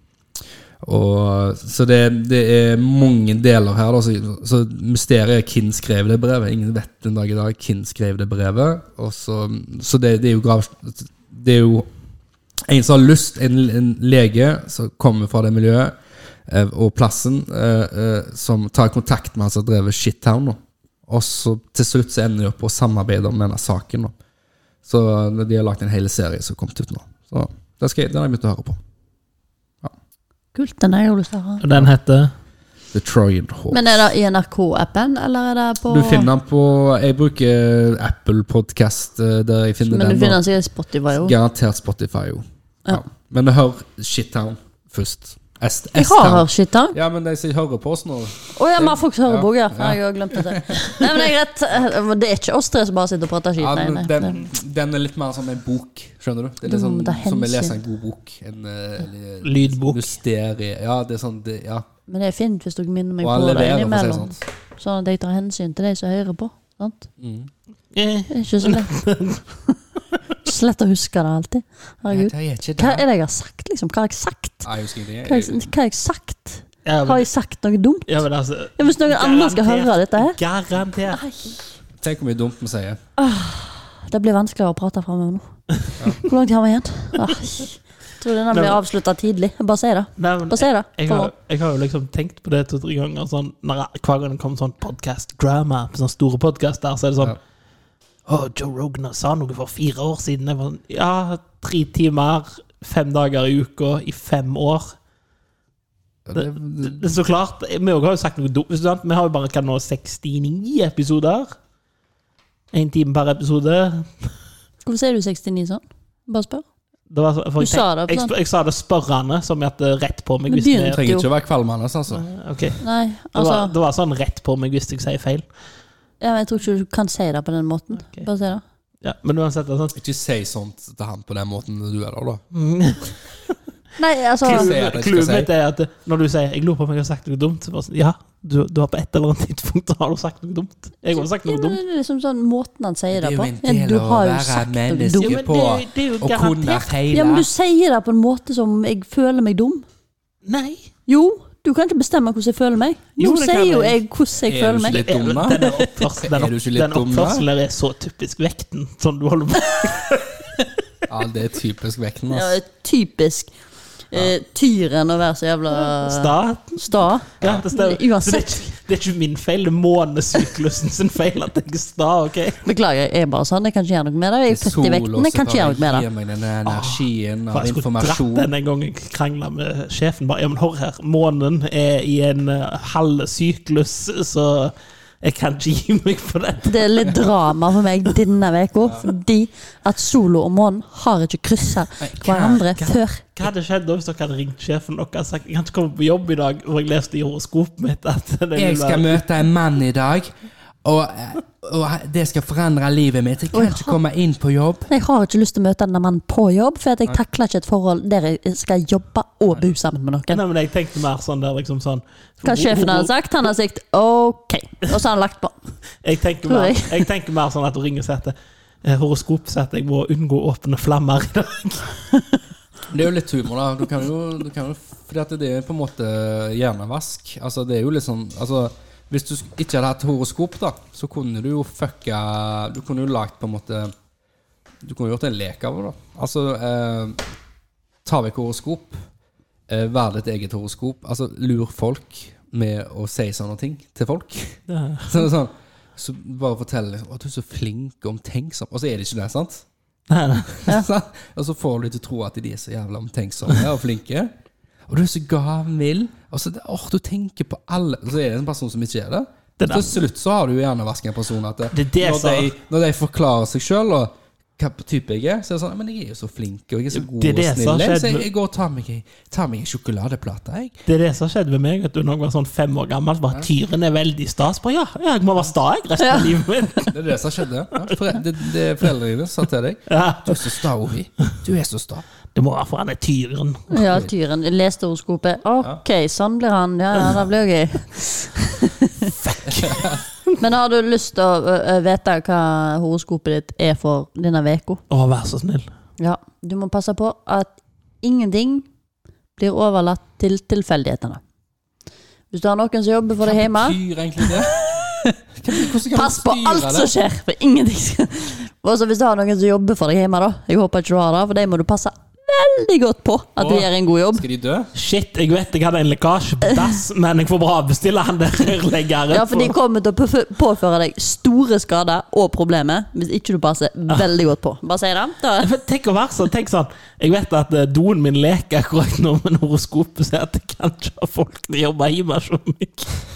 S2: og, så det, det er mange deler her. Da, så, så mysteriet er hvem skrev det brevet. Ingen vet den dag i dag hvem skrev det brevet. Og så, så det, det er jo grav, Det er jo en som har lyst, en, en lege som kommer fra det miljøet eh, og plassen, eh, eh, som tar kontakt med han som har drevet Shittown. da. Og så til slutt så ender de opp på å samarbeide om denne saken. Da. Så de har lagt en hel serie som har kommet ut nå. Så den, skal jeg, den har jeg begynt å høre på.
S1: Kult, den har jeg jo lyst til å ha.
S3: Og den heter
S2: The Trojan Horse.
S1: Men er det i NRK-appen, eller er det på
S2: Du finner den på Jeg bruker Apple Podcast eh, der jeg finner
S1: Men du
S2: den.
S1: finner den
S2: og
S1: sikkert i Spotify òg.
S2: Garantert Spotify, jo. Ja.
S1: Ja.
S2: Men hør Shittown først. S-
S1: Jeg har
S2: S-Town.
S1: hørt shit, da.
S2: Ja, men de som hører på oss nå
S1: Å ja, vi har faktisk hørebok, ja. Faen, Jeg har glemt det. Nei, men det er greit. Det er ikke oss tre som bare sitter og prater skit.
S2: ja,
S1: Nei, nei.
S2: men den, den er litt mer som en bok, skjønner du? Det er litt
S1: Du
S2: sånn
S1: må ta
S2: som å lese
S1: hensyn.
S2: en god bok. En eh, eller-
S3: Lydbok.
S2: Mysterie. Ja, det er sånn det, ja.
S1: Men det er fint hvis dere minner meg
S2: Og han
S1: på det
S2: leverer, for å si det
S1: innimellom.
S2: sånn.
S1: Sånn at jeg tar hensyn til de som hører på. Sant?
S3: eh,
S1: Det er ikke så lett. Så lett å huske det alltid. Herregud.
S2: Nei, det er ikke
S1: Hva
S2: det.
S1: er det jeg har sagt, liksom? Hva har jeg sagt?
S2: Nei, jeg husker ikke
S1: Hva har
S2: det.
S1: jeg, hva har jeg sagt?
S3: ja, men-
S1: Har jeg sagt noe dumt?
S3: ja, men altså,
S1: Ja, hvis noen andre skal
S3: garantert-
S1: høre dette her?
S3: Garantert.
S1: Nei.
S2: Jeg- Tenk hvor mye dumt vi sier.
S1: Det blir vanskeligere å prate framover nå. Hvor langt har vi igjen? Ah, tror denne blir avslutta tidlig. Bare si det.
S3: Nei, men,
S1: Bare si det.
S3: Jeg har, jeg har jo liksom tenkt på det to-tre ganger. Sånn, når jeg- hver gang det kom sånn podcast-drama på sånne store podcaster, så er det sånn
S2: Ja.
S3: Å, Joe Rogan sa noe for fire år siden. Jeg var sånn, ja, tre timer, fem dager i uka, i fem år.
S2: Ja, det-
S3: Det er Så klart, vi også har jo sagt noe dumt. sant? Vi har jo bare hva nå, 69 episoder. Én time per episode.
S1: Hvorfor sier du 69 sånn? Bare spør.
S3: Det var, så- for
S1: Du
S3: jeg,
S1: sa
S3: tenk-
S1: det på
S3: jeg,
S1: den.
S3: jeg, sa det spørrende, som i at det er rett på meg
S1: Men
S3: hvis vi
S1: begynte-
S3: er
S2: Trenger ikke å være kvalmende, altså.
S3: Ok.
S1: Nei,
S3: Det var,
S1: altså
S3: det var sånn rett på meg hvis jeg sier feil.
S1: ja, men Jeg tror ikke du kan si det på den måten. Bare si det.
S3: Ja, men uansett, det er sånn
S2: Ikke si sånt til han på den måten du er der, da. <laughs>
S1: Nei, altså
S2: Hva sier jeg at jeg skal
S3: Clouet mitt
S2: si?
S3: er at når du sier 'jeg lurer på om jeg har sagt noe dumt', så bare sånn Ja, du, du har på et eller annet tidspunkt har du sagt noe dumt. Jeg har sagt
S1: ja,
S3: noe
S1: men
S3: dumt.
S1: det er liksom sånn måten han sier
S2: Det
S1: det
S2: er jo
S1: på.
S2: en
S1: Ja,
S2: del
S1: du
S2: av å
S1: har jo
S2: være
S1: sagt noe
S2: menneske.
S1: dumt.
S2: Jo, men det er jo-
S3: det er jo
S2: Og kunne feile.
S1: Ja, men du sier det på en måte som jeg føler meg dum.
S3: Nei.
S1: Jo, du kan ikke bestemme hvordan jeg føler meg.
S3: Jo,
S1: Nå
S3: det kan
S1: sier jo
S3: jeg.
S1: jeg hvordan jeg
S2: Er du
S1: føler
S2: ikke
S1: meg.
S2: litt dum, da?
S3: Den oppførselen,
S2: <laughs>
S3: den
S2: Er du ikke litt
S3: opp- den
S2: dum, da?
S3: oppførselen der er så typisk vekten. Sånn du holder på
S2: Ja, det er typisk vekten.
S1: Ja,
S2: Altså.
S1: typisk eh, tyren å være så jævla
S3: Staten.
S1: sta.
S3: Ja, det stemmer.
S1: Men
S3: Så det, er
S1: uansett.
S3: ikke- det er ikke min feil, det er månesyklusen sin feil at jeg er sta. ok?
S1: Beklager, jeg er bare sånn. Jeg kan ikke gjøre noe med det. Jeg er født i vekten, jeg kan ikke gjøre noe med det.
S2: Gir meg den energien
S3: For
S2: av
S3: jeg skulle dratt
S2: informasjon.
S3: den en gang jeg krangla med sjefen. Bare, ja, men hør her, månen er i en eh, halv syklus, så jeg kan ikke gi meg på dette.
S1: Det er litt drama for meg denne uka, fordi at Solo og månen har ikke kryssa hverandre før.
S3: Hva hadde skjedd da hvis dere hadde ringt sjefen og sagt jeg kan ikke komme på jobb i dag, og jeg leste i horoskopet mitt at det vil
S4: Jeg skal
S3: være-
S4: møte en mann i dag, og, og det skal forandre livet mitt. Jeg kan ikke komme inn på jobb.
S1: Jeg har ikke lyst til å møte denne mannen på jobb, for at jeg takler ikke et forhold der jeg skal jobbe og bo sammen med noen.
S3: Nei, men jeg tenkte mer sånn der liksom sånn
S1: Hva sjefen hadde sagt? Han har sagt OK, og så har han lagt på.
S3: Jeg tenker
S1: Tror
S3: mer,
S1: jeg.
S3: jeg tenker mer sånn at hun ringer og sier at eh, horoskop sier at jeg må unngå åpne flammer i dag.
S2: Det er jo litt humor, da. Du kan jo, du kan jo Fordi at det er på en måte hjernevask. Altså, det er jo litt sånn Altså, hvis du sk- ikke hadde hatt horoskop, da, så kunne du jo fucka Du kunne jo lagt på en måte Du kunne gjort en lek av det, da. Altså eh, Ta vekk horoskop. Eh, Vær ditt eget horoskop. Altså, lur folk med å si sånne ting til folk. <laughs> Så det er sånn så bare fortell liksom, at du er så flink og omtenksom, og så er det ikke det, sant?
S3: Nei, nei.
S2: Sant? og <laughs> så får du til å tro at de er så jævla omtenksomme og flinke. Og du er så gavmild. Og så det, åh, du tenker på alle Og så er det en person som ikke er det.
S3: Det der.
S2: Til slutt så har du jo hjernevasken en person at det,
S3: Det er det
S2: når,
S3: som-
S2: de, når de forklarer seg sjøl og hva type jeg er, så er det sånn Men jeg er jo så flink og jeg er så god
S3: Det er det
S2: og
S3: som har
S2: snill. Jeg,
S3: skjedd
S2: så jeg,
S3: med-
S2: jeg går og tar meg, ei- tar meg en sjokoladeplate, jeg.
S3: Det er det som skjedde med meg vet du, når jeg var sånn fem år gammel. Bare, Tyren er veldig stas. Bare, ja, ja, jeg må være sta jeg resten av livet mitt. <laughs>
S2: Det er det som skjedde. Ja, for, det, det foreldrene dine sa til deg.
S3: Ja.
S2: Du er så sta, Ovi. Du er så sta.
S3: Det må være for han er tyren.
S1: Ja, tyren. Les horoskopet. Ok, sånn blir han. Ja, ja det blir gøy. Men har du lyst til å ø, ø, vite hva horoskopet ditt er for denne uka?
S3: Å, vær så snill.
S1: Ja, du må passe på at ingenting blir overlatt til tilfeldighetene. Hvis du har noen som jobber for deg hjemme,
S2: Betyr egentlig det? Hvordan kan man
S1: pass på
S2: styre
S1: alt som
S2: det?
S1: skjer! For ingenting skal Og så hvis du har noen som jobber for deg hjemme, da. Jeg håper ikke du har det, for de må du passe veldig godt på at de
S2: Åh.
S1: gjør en god jobb.
S2: Skal de dø?
S3: Shit, jeg vet jeg hadde en lekkasje på
S1: <laughs>
S3: dass, men jeg får bare avbestille han der rørleggeren.
S1: Ja, for de
S3: for-
S1: kommer til å påfø- påføre deg store skader og problemer hvis ikke du passer
S2: Ah.
S1: veldig godt på. Bare si det. Da.
S2: <laughs>
S3: Men <laughs> Tenk å være sånn. tenk sånn Jeg vet at eh, doen min leker akkurat nå med horoskopet, så jeg kan ikke ha folk til å jobbe hjemme så mye. <laughs>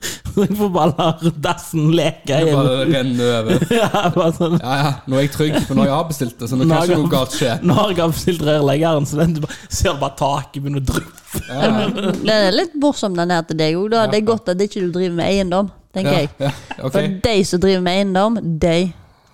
S3: Så jeg får bare la dassen leke.
S2: Det
S3: hjemme.
S2: bare renner over.
S3: <laughs> Ja, bare sånn
S2: Ja, ja, nå er jeg trygg, for nå har jeg avbestilt det, så nå
S3: Nå
S2: kan
S3: har
S2: ikke
S3: jeg-
S2: noe galt skje.
S3: <laughs> Nå har jeg avstilt rørleggeren, så den du bare- ser bare taket begynne å dryppe.
S2: Ja, ja.
S1: Den er litt morsom, den her til deg òg. Det er godt at ikke du driver med eiendom, tenker
S2: Ja,
S1: jeg.
S2: ja, ok.
S1: For de som driver med eiendom, de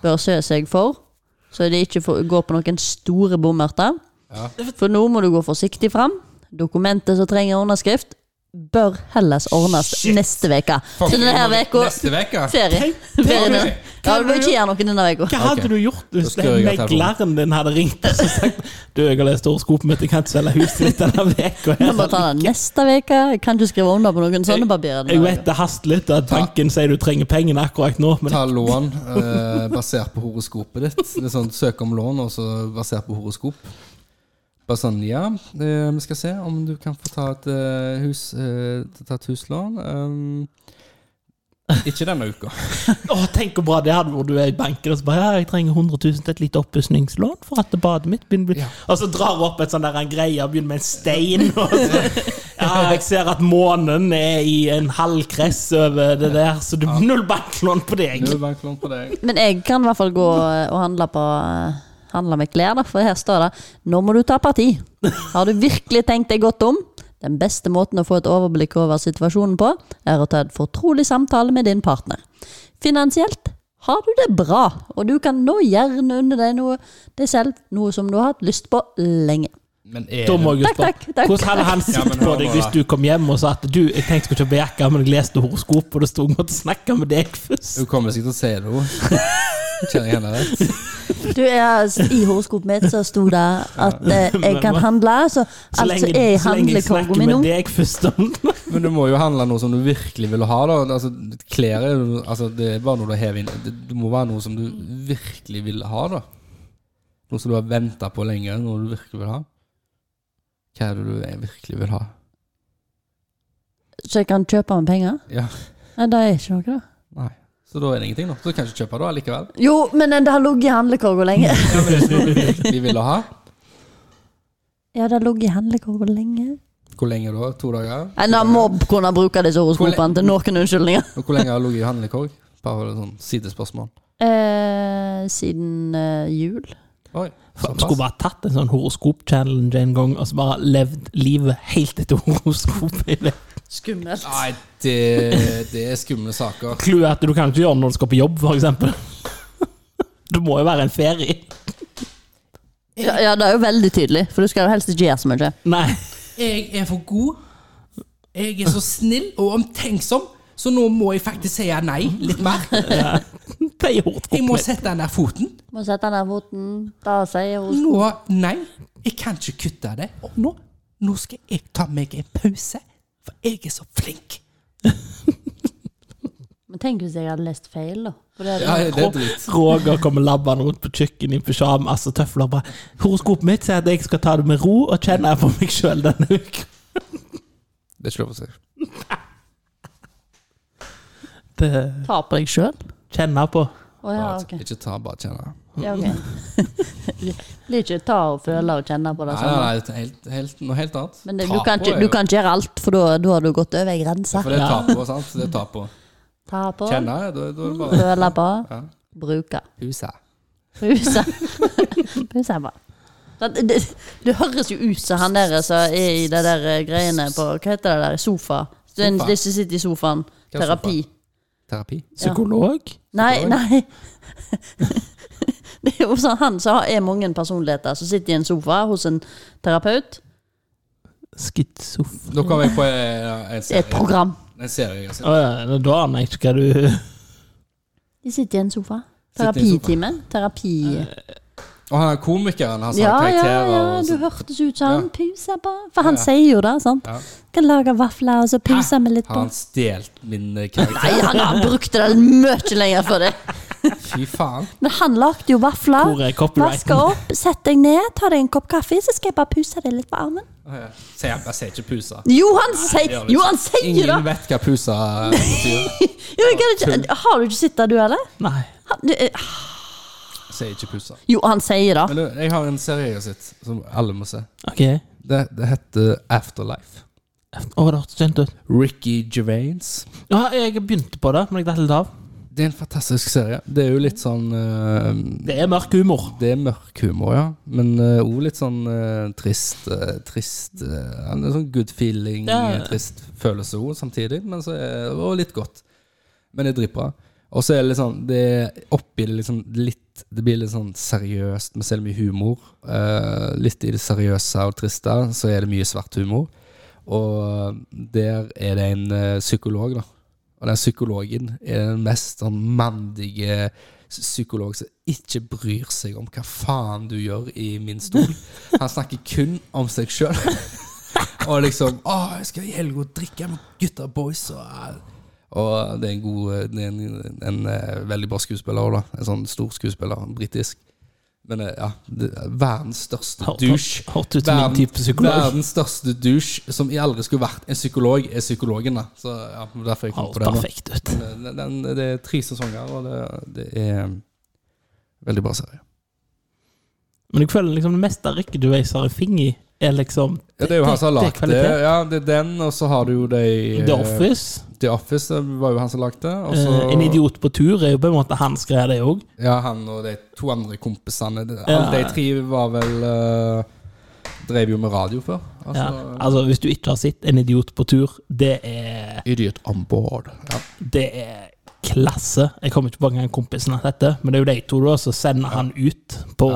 S1: bør se seg for, så de ikke får- går på noen store bommerter.
S2: Ja.
S1: For nå må du gå forsiktig fram. Dokumentet som trenger underskrift, bør helles ordnes
S3: Shit.
S1: neste uke. Så
S2: Fucking
S1: denne her veka
S2: Neste uke?
S1: Ferie. Ferie.
S2: Ok.
S1: Ja, du bør ikke gjøre noe denne uka.
S3: <laughs> Hva hadde
S2: Ok.
S3: du gjort hvis
S2: Da skrur
S3: den
S2: jeg av
S3: megleren din hadde ringt og så sagt Du, jeg har lest horoskopet mitt, jeg kan ikke selge huset mitt denne
S1: Vi må ta
S3: uka.
S1: den neste uke. Jeg kan ikke skrive under på noen sånne papirer. denne
S3: Jeg vet
S1: veka.
S3: det haster litt, og at banken sier du trenger pengene akkurat nå, men
S2: Ta lån eh, basert på horoskopet ditt. Det er sånn, Søk om lån, og så basert på horoskop. Bare sånn, ja, eh, vi skal se om du kan få ta et, eh, hus, eh, ta et huslån. Eh, ikke denne
S3: <laughs>
S2: uka.
S3: Åh, tenk hvor bra det hadde vært. Du er i banken og så bare ja, 'Jeg trenger 100 000 til et lite oppussingslån for at badet mitt begynner å bli
S2: Ja.
S3: Og så drar hun opp et sånn der en greie og begynner med en stein. Og så, ja, jeg ser at månen er i en halvkress over det der, så du null banklån på deg.
S2: Null banklån på deg.
S1: Men jeg kan i hvert fall gå eh, og handle, på, eh, handle med klær, da, for her står det 'Nå må du ta parti'. Har du virkelig tenkt deg godt om? Den beste måten å få et overblikk over situasjonen på, er å ta en fortrolig samtale med din partner. Finansielt har du det bra, og du kan nå gjerne unne deg noe deg selv, noe som du har hatt lyst på lenge.
S2: Men er
S3: Da må
S2: det
S1: Takk,
S3: jeg jo
S1: takk,
S3: spørre,
S1: takk.
S3: Hvordan hadde han
S2: Ja,
S3: sett
S2: men
S3: på
S2: hør
S3: deg
S2: nå,
S3: hvis
S2: da.
S3: du kom hjem og sa at du, jeg tenkte jeg skulle kjøpe jakke, men jeg leste horoskopet, og det sto jeg måtte snakke med deg først?
S1: Altså,
S2: Hun kommer sikkert til å si det, hun. Kjenner jeg henne rett?
S1: Du er I horoskopet mitt så sto det at eh, jeg kan handle, så
S3: Så
S1: alt som
S3: lenge,
S1: er i
S3: så lenge jeg
S1: handlekorga
S3: snakker
S1: mi nå
S3: med deg først om det.
S2: Men du må jo handle noe som du virkelig vil ha. da altså, Klær er jo- altså, det er bare noe du hever inn. Det, det må være noe som du virkelig vil ha. da Noe som du har venta på lenge. Noe du virkelig vil ha. Hva er det du er- virkelig vil ha?
S1: Så jeg kan kjøpe med penger?
S2: Ja,
S1: Nei, det er ikke noe, da.
S2: nei Så da er det ingenting, da. Så kan du ikke kjøpe det allikevel.
S1: Jo, men det har ligget i handlekorga lenge.
S2: Ja, men det er noe du virkelig ville ha.
S1: Ja, det har ligget i handlekorga lenge.
S2: Hvor lenge da? To dager?
S1: En mobb kunne bruke disse horoskopene til noen unnskyldninger.
S2: Og hvor lenge har du ligget i handlekorg? Bare sånn sidespørsmål.
S1: Eh, siden eh, jul.
S2: Oi,
S3: Faen, Skulle bare tatt en sånn horoskop-challenge en gang, og så bare levd livet helt etter horoskopet. i det.
S1: Skummelt.
S2: Nei, det, det er skumle saker.
S3: Clouet er at du kan ikke gjøre det når du skal på jobb, <laughs> f.eks. Det må jo være en ferie.
S1: Ja, ja, det er jo veldig tydelig, for du skal jo helst ikke gjøre så mye.
S3: Nei.
S4: Jeg er for god. Jeg er så snill og omtenksom, så nå må jeg faktisk si nei litt mer.
S3: Det er
S4: Jeg må
S3: horoskopet.
S4: sette den der foten.
S1: Må sette ned foten, ta seg i
S2: Mm.
S1: horoskopet.
S4: Nå, nei, jeg kan ikke kutte det. Og nå, nå skal jeg ta meg en pause, for jeg er så flink.
S1: Men tenk hvis jeg hadde lest feil, da. For det
S2: Ja,
S1: hadde...
S2: det er dritt.
S3: Roger kommer labbende rundt på kjøkkenet i pysjamas og tøfler. bare, 'Horoskopet mitt sier at jeg skal ta det med ro og kjenne på meg sjøl denne uka'.
S2: Det er ikke lov å si.
S3: Det-
S1: Ta på deg sjøl.
S3: Kjenne på.
S1: Å ja,
S2: Bare-
S1: ok.
S2: Ikke ta, bare kjenne.
S1: Ja, <laughs> ok. Blir ikke ta og føle og kjenne på det
S2: Nei, nei,
S1: samme.
S2: nei det er helt, helt, noe helt annet.
S1: Men det,
S2: Ta
S1: du, kan
S2: på
S1: ikke,
S2: er
S1: du
S2: jo-
S1: kan ikke gjøre alt, for da da har du gått over ei grense.
S2: For det er
S3: Ja.
S2: ta på, sant? Det er ta på.
S1: Ta på,
S2: Kjenne, da, da er det bare
S1: føle på,
S2: ja.
S1: bruke.
S2: Huset. <laughs>
S1: Puse. Puse er bra. Det, det, det høres jo ut som han der som er i det der eh, greiene på Hva heter det der? Sofa? Den,
S2: Sofa.
S1: de som sitter i sofaen.
S2: Hva er
S1: Terapi.
S2: Terapi.
S1: Ja.
S3: Psykolog?
S1: Nei, nei. <laughs> Det er jo sånn, han som har- er mange personligheter, som sitter i en sofa hos en terapeut.
S3: Skittsoff.
S2: Nå kom jeg på eh, en
S1: Det er et
S2: serie.
S1: program.
S2: En serie jeg har
S3: Å
S2: sett.
S3: ja, da aner jeg ikke hva du
S1: De sitter i en sofa.
S2: Sitter i en sofa.
S1: Terapitime. Terapi...
S2: Og han er komikeren, han sa
S1: Ja, ja,
S2: sånn karakterer.
S1: ja,
S2: og
S1: du
S2: så-
S1: hørtes ut som han
S2: Ja.
S1: puser på. For han
S2: Ja.
S1: sier jo det, sant.
S2: Ja.
S1: Kan lage vafler, og så puser vi litt
S2: Har
S1: på.
S2: han stjålet min eh, karakter?
S1: Nei, han, han brukte det mye lenger
S2: <laughs>
S1: for det.
S2: Fy faen.
S1: Men han lagde jo
S3: Hvor
S1: vafler.
S3: er
S1: Vaska
S3: copyrighten?
S1: opp, sett deg ned, ta deg en kopp kaffe, så skal jeg bare puse deg litt på armen.
S2: Å, ja. Så jeg, jeg ser ikke pusa.
S1: Jo, han sier
S2: gjør det
S1: jo, han sier det!
S2: Ingen vet hva pusa betyr.
S1: Jo, men kan du ikke, har du ikke sett det, du, eller?
S3: Nei.
S1: Han, du, eh,
S2: Jeg ser ikke pusa.
S1: jo, han sier det.
S2: Men du, jeg har en serie jeg har sett, som alle må se.
S3: OK.
S2: Det, det heter Afterlife.
S3: Å, det hørtes kjent ut.
S2: Ricky Gervais.
S3: Ja, jeg begynte på det, men jeg datt litt av.
S2: Det er en fantastisk serie. Det er jo litt sånn eh,
S3: Det er mørk humor.
S2: Det er mørk humor, ja. Men òg litt sånn eh, trist eh, Trist eh, En sånn good feeling,
S3: Ja.
S2: eh, trist følelse òg samtidig. Men så er, og litt godt. Men det er dritbra. Og så er det litt sånn Det er oppi det liksom litt Det blir litt sånn seriøst, men så er det mye humor. Eh, litt i det seriøse og triste, så er det mye svart humor. Og der er det en eh, psykolog, da. Og den psykologen er den mest sånn mandige psykolog som ikke bryr seg om hva faen du gjør i min stol. Han snakker kun om seg sjøl. <laughs> Og liksom Å, jeg skal i helga og drikke med gutta boys. Og, eh, og det er en god Det er en, en, eh, veldig bra skuespiller òg, da. En sånn stor skuespiller. en Britisk. Men eh, ja, det, verdens største
S3: Hørt-
S2: douche.
S3: Hørt ut som min
S2: Verden-
S3: type psykolog.
S2: Verdens største douche som jeg aldri skulle vært en psykolog, er psykologen. da Så ja, Derfor jeg kom
S3: Hørt
S2: på den.
S3: perfekt ut.
S2: da. Men, eh, den, den. Det er tre sesonger, og det, det er eh, veldig bra serie.
S3: Men jeg føler liksom det meste av Rikke Duveis har en finger i, er liksom
S2: Ja, det er jo han som har
S3: det er
S2: lagd det.
S3: kvalitet.
S2: Ja, det er den, og så har du jo de
S3: The Office.
S2: The Office det var jo han som lagde det. Og så
S3: eh, en idiot på tur er jo på en måte han skrev det òg.
S2: Ja, han og de to andre kompisene. De,
S3: Ja.
S2: de tre var vel eh, Drev jo med radio før. Altså,
S3: Ja. Altså, hvis du ikke har sett En idiot på tur, det er
S2: Idiot on board. Ja.
S3: Det er klasse. Jeg kommer ikke på engang kompisen av dette, men det er jo de to, da, så sender han ut på,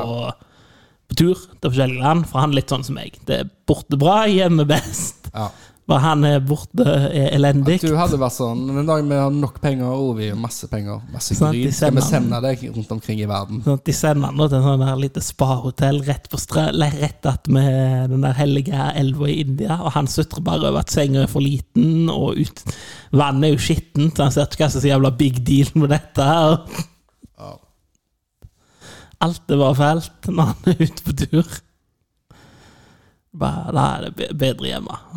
S3: på tur til forskjellige land, for han er litt sånn som meg. Det er borte bra, hjemme best.
S2: Ja.
S3: Bare han er borte, er elendig.
S2: At du hadde vært sånn Den dagen vi har nok penger, og vi har masse penger, masse
S3: Sånn at de
S2: gryn, skal vi
S3: sender
S2: sende deg rundt omkring i verden.
S3: Sånn at de sender han da til en sånn der lite spahotell rett på strø, eller rett at med den der hellige elva i India, og han sutrer bare over at senga er for liten, og ut, vannet er jo skittent, så han ser ikke hva som er så jævla big deal med dette. her.
S2: Ja.
S3: Alt det var fælt når han er ute på tur. Bare, da er det be- bedre hjemme. <laughs>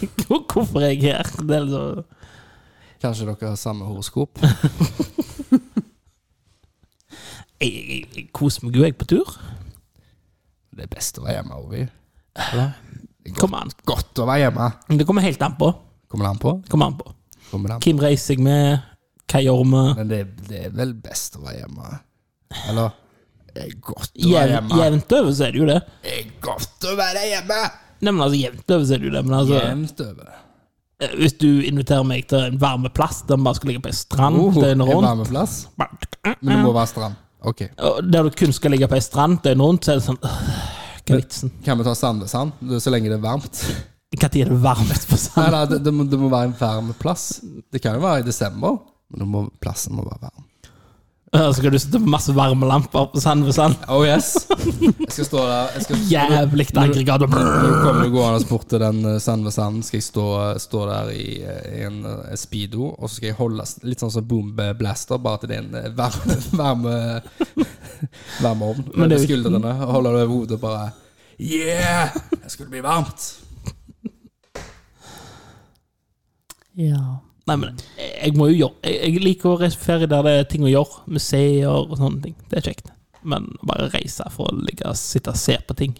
S3: Hvorfor er jeg her? Det er liksom
S2: Kanskje dere har samme
S3: <laughs>
S2: horoskop?
S3: jeg, jeg, jeg koser meg jo, jeg, på tur.
S2: Det er best å være hjemme, Ovi.
S3: Kom an.
S2: Godt å være hjemme.
S3: Det kommer helt an på.
S2: Kommer det an på?
S3: Kommer an på.
S2: Kommer det an på?
S3: Hvem reiser jeg med? Hva gjør vi?
S2: Men det, det er vel best å være hjemme. Eller det er godt å være
S3: Jevnt,
S2: hjemme.
S3: jevnt over så er det jo det.
S2: Det er godt å være hjemme!
S3: Nei, men altså, jevnt over så er det jo det. Men altså,
S2: Jevnt over.
S3: eh, hvis du inviterer meg til en varme plass der vi bare skal ligge på ei strand
S2: Oh, en
S3: døgnet rundt
S2: varmeplass?
S3: bare-
S2: Men det må være stram. Ok.
S3: og Der du kun skal ligge på ei strand døgnet rundt, så er det sånn øh, Hva er vitsen?
S2: Kan vi ta Sandesand? Det- Så lenge det er varmt.
S3: <laughs> Når er det varmest på
S2: Nei,
S3: strand?
S2: nei det, det, må, det må være en varm plass. Det kan jo være i desember, men det må, plassen må være varm.
S3: <laughs> Og Så skal du sitte på masse varmelamper på sand ved sand.
S2: Oh yes! Jeg skal stå der. Jeg skal,
S3: Jævlig aggregat. og brrr.
S2: Når du kommer gående bort til den eh, sand ved sand, skal jeg stå, stå der i, eh, i en eh, speedo, og så skal jeg holde s- litt sånn som Boom Blaster, bare at det er en eh, varme <laughs> varme, varme ovn
S3: Men
S2: over
S3: det er jo-
S2: skuldrene, og holder det over hodet og bare Yeah! Det skulle bli varmt!
S1: Ja.
S3: Nei, men jeg jeg må jo gjøre Jeg, jeg liker å reise på ferie der det er ting å gjøre. Museer og sånne ting. Det er kjekt. Men bare reise for å ligge, og sitte og se på ting.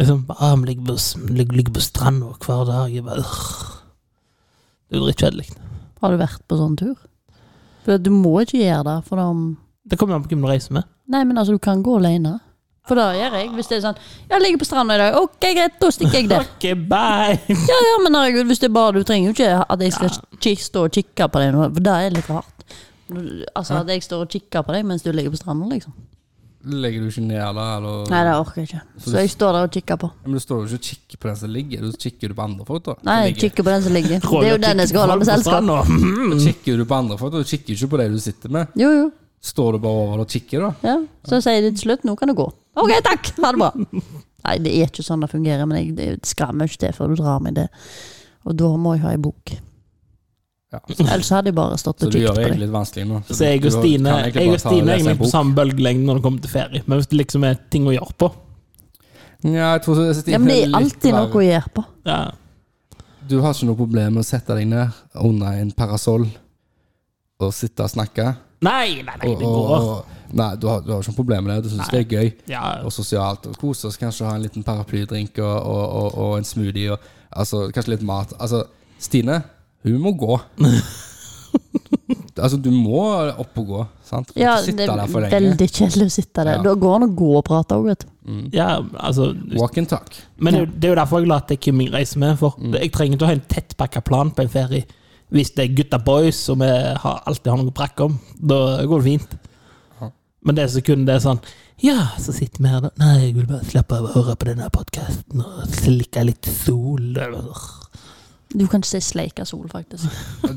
S3: Liksom bare ah, men ligge på, s- ligge- ligge på stranda hver dag. Jeg bare, «Urgh». det er jo drittkjedelig.
S1: Har du vært på sånn tur? For du må ikke gjøre det, for da
S3: Det kommer jo an på hvem du reiser med.
S1: Nei, men altså, du kan gå alene. For det gjør jeg. Hvis det er sånn Jeg ligger på stranda i dag. Ok, greit, da stikker jeg der.
S3: Ok,
S1: <laughs>
S3: bye!
S1: Ja, ja, men herregud, hvis det er bare Du trenger jo ikke at jeg skal ki- stå og kikke på deg nå, for det er litt rart. Altså at jeg står og kikker på deg mens du ligger på stranda, liksom.
S2: Legger du ikke ned da, eller
S1: Nei, det orker jeg ikke. Så jeg står der og kikker på.
S2: Men du står jo ikke og kikker på den som ligger, du kikker du på andre folk, da. som
S1: Nei, jeg
S2: ligger.
S1: kikker på den som ligger. Det er jo den jeg skal holde med selskap.
S2: Da kikker du på andre folk, da. du kikker ikke på det du sitter med.
S1: Jo, jo.
S2: Står du bare over og kikker, da?
S1: Ja. Så sier de til slutt 'nå kan du gå'. Ok, takk! Ha det bra.
S2: <laughs>
S1: Nei, det er ikke sånn det fungerer, men jeg det skrammer ikke til før du drar meg det. Og da må jeg ha ei bok.
S2: Ja.
S1: Ellers hadde jeg bare stått
S2: Så
S1: og
S2: du
S1: kikket
S2: gjør
S1: på
S2: det
S1: deg.
S2: egentlig litt vanskelig nå.
S3: Så jeg og
S2: Du
S3: Stine
S2: kan egentlig
S3: jeg
S2: bare ta
S3: og
S2: og
S3: Stine
S2: lese
S3: er
S2: en
S3: egentlig på
S2: bok.
S3: samme bølgelengde når det kommer til ferie. Men hvis det liksom er ting å gjøre på
S2: Ja, jeg tror Stine
S1: Ja, men det
S2: er
S1: er
S2: litt
S1: alltid noe å
S2: verre.
S1: gjøre på.
S3: ja.
S2: Du har ikke noe problem med å sette deg ned under en parasoll og sitte og snakke?
S3: Nei, nei, nei,
S2: Og,
S3: det
S2: og,
S3: går.
S2: og, nei, du har, du har ikke noe problem med det. Du syns det
S3: Nei.
S2: er gøy
S3: Ja,
S2: og sosialt. Og kose oss, kanskje ha en liten paraplydrink og, og, og, og en smoothie og altså, kanskje litt mat. Altså, Stine, hun må
S1: <laughs>
S2: gå. altså, du må opp og gå, sant? Du kan
S1: Ja,
S2: ikke sitte
S1: det er
S2: der for lenge.
S1: veldig kjedelig å sitte der.
S2: Ja.
S1: Da går det an å gå og prate òg, vet du.
S3: ja, altså
S2: Walk and talk.
S3: Men det, er jo- det er jo derfor jeg lar til Kim jeg reiser med. For det- jeg trenger ikke å ha en tettpakka plan på en ferie. Hvis det er gutta boys som vi har, alltid har noe brakk om, da går det fint. Men det er sekundet det er sånn Ja, så sitter vi her, da. Nei, jeg vil bare slappe av og høre på denne podkasten og slikke litt sol. Eller.
S1: Du kan ikke si sleika sol, faktisk.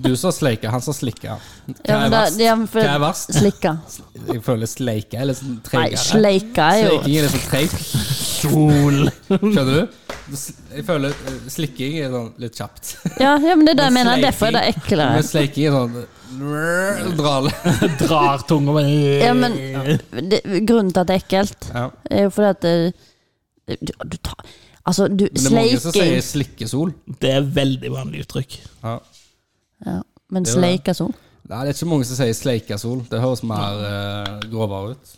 S2: Du som sleiker, han som slikker. Hva
S1: Ja, men
S2: er
S1: da,
S2: verst?
S1: ja, men for,
S2: Hva er verst? <laughs>
S1: Slikka.
S2: Jeg føler sleike er litt sånn
S1: Nei,
S2: tregere.
S1: sleika er jo
S2: Sleiking er litt sånn treig.
S3: Sol!
S2: Skjønner du? Du sl- Jeg føler eh, slikking er sånn litt kjapt.
S1: Ja, ja men det er det jeg
S2: Men
S1: mener. Derfor er det
S2: sleiking-
S1: eklere.
S2: Men sleiking er sånn Dral.
S3: <laughs> Drar tunga med
S1: Ja, men det, Grunnen til at det er ekkelt,
S2: Ja.
S1: er jo Eh, fordi at det, du, du tar Altså, du
S2: Men det er mange som sier
S1: Sleiking
S2: 'slikkesol'.
S3: Det er veldig vanlig uttrykk.
S2: Ja.
S1: ja, Men
S2: Det er jo det.
S1: sleika sol?
S2: Nei, det er ikke mange som sier 'sleikasol'. Det høres mer eh, grovere ut.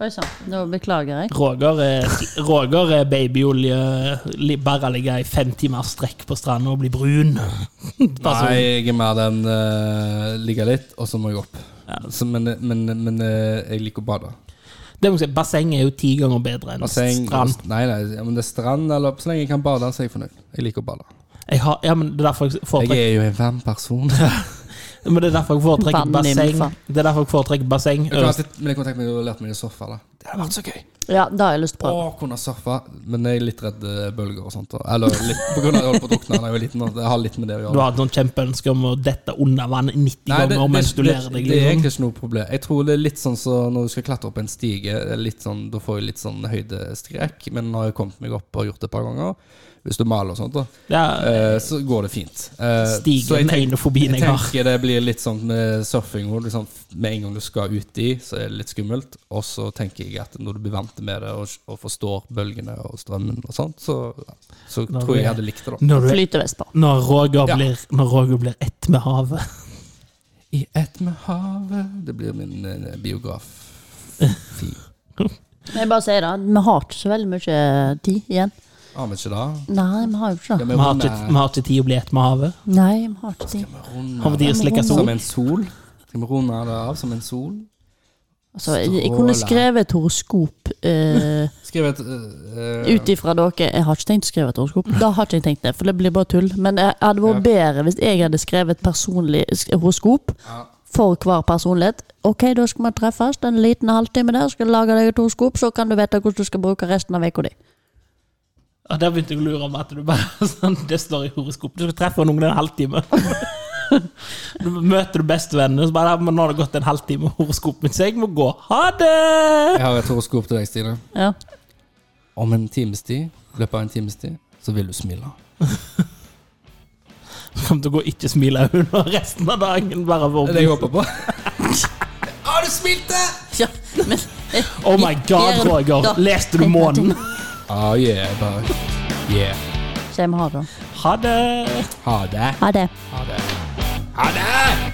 S1: Oi sann, nå beklager jeg.
S3: Roger er, Roger er babyolje. li- Bare ligge i fem timer strekk på stranda og bli brun. <laughs> Bare sånn.
S2: Nei, jeg er mer den uh, ligger litt, og så må jeg opp. Så, men men, men eh, jeg liker å bade.
S3: Det må jeg si, basseng er jo ti ganger bedre enn
S2: Basseng altså.
S3: strand.
S2: Nei, nei, ja, men det er strand, eller så lenge jeg kan bade, så er jeg fornøyd. Jeg liker å bade.
S3: Jeg har, ja, men det er derfor jeg
S2: Jeg
S3: foretrekker,
S2: er jo en varm person.
S3: men det er derfor jeg foretrekker
S1: Vann i
S3: basseng.
S1: nymfa.
S3: Det er derfor jeg foretrekker basseng.
S2: Jeg kan ha sitt- men jeg kunne tenkt meg å lære meg å surfe. Da. Det hadde vært så gøy.
S1: Ja, da har jeg lyst til å
S2: Å
S1: prøve.
S2: kunne surfe. Men jeg er litt redd eh, bølger og sånt. da. Eller litt på grunn av at jeg holdt på å drukne da jeg var liten. da. Det har litt med det å gjøre.
S3: Du har et sånt kjempeønske om å dette under vann 90
S2: Nei, det,
S3: ganger
S2: det,
S3: mens du
S2: det,
S3: lærer deg
S2: det er
S3: liksom.
S2: egentlig ikke noe problem. Jeg tror det er litt sånn så når du skal klatre opp en stige, det er litt sånn, da får jeg litt sånn høydestrek. Men nå har jeg kommet meg opp og gjort det et par ganger. Hvis du maler og sånt, da,
S3: Ja,
S2: eh, så går det fint. Eh,
S3: Stigen
S2: så jeg
S3: er en av fobiene jeg har.
S2: tenker det blir litt sånn med surfing hvor du sånn, med en gang du skal uti, så er det litt skummelt. Og så tenker jeg at når du blir vant med det og, og forstår bølgene og strømmen og sånt, så, så
S3: Når
S2: tror
S3: du
S2: jeg
S3: er-
S2: jeg hadde likt det, da.
S3: når, du,
S1: Flytevest på.
S3: når, Roger
S2: Ja.
S3: blir, når Roger blir ett med havet.
S2: I ett med havet Det blir min eh, biograf.
S1: Men Jeg bare sier det, vi har ikke så veldig mye tid igjen.
S2: Aner ikke det.
S1: Nei, vi har jo ikke det.
S3: Vi har
S2: eh.
S3: ikke, vi har ikke tid å bli ett med havet.
S1: Nei, vi har ikke tid.
S3: Har vi tid å slikke
S2: Som
S3: sol?
S2: en sol. Skal vi runde det av som en sol?
S1: Altså, jeg, jeg kunne skrevet et horoskop
S2: <laughs>
S1: eh,
S2: Skriv et eh, eh,
S1: ut ifra dere. Jeg har ikke tenkt å skrive et horoskop. Da har ikke jeg tenkt det, for det blir bare tull. Men det hadde vært bedre hvis jeg hadde skrevet et personlig sk- horoskop
S2: Ja.
S1: for hver personlighet. Ok, da skal vi treffes en liten halvtime der, skal jeg lage deg et horoskop, så kan du vite hvordan du skal bruke resten av uka di.
S3: Og Der begynte jeg å lure om at du bare <laughs> sånn, Det står i horoskopet. Du skal treffe noen i en halvtime. <laughs> Du møter du bestevennene, så bare ja, men 'Nå har det gått en halvtime, og horoskopet mitt, så jeg må gå. Ha det!'
S2: Jeg har et horoskop til deg, Stine.
S1: Ja.
S2: Om en times tid, i løpet av en times tid, så vil du smile.
S3: Kommer til å gå og ikke smile <laughs> under resten av dagen. Bare for å
S2: Det er det
S3: bli-
S2: jeg håper på. Har du smilt det?!
S3: <laughs>
S1: Ja, men eh,
S3: Oh my god,
S1: Gjør det.
S3: Roger!
S1: Da.
S3: Leste du månen?
S2: Oh, yeah, dog. yeah.
S1: så jeg må ha det.
S3: Ha det!
S2: Ha det.
S1: Ha det.
S2: Ha det!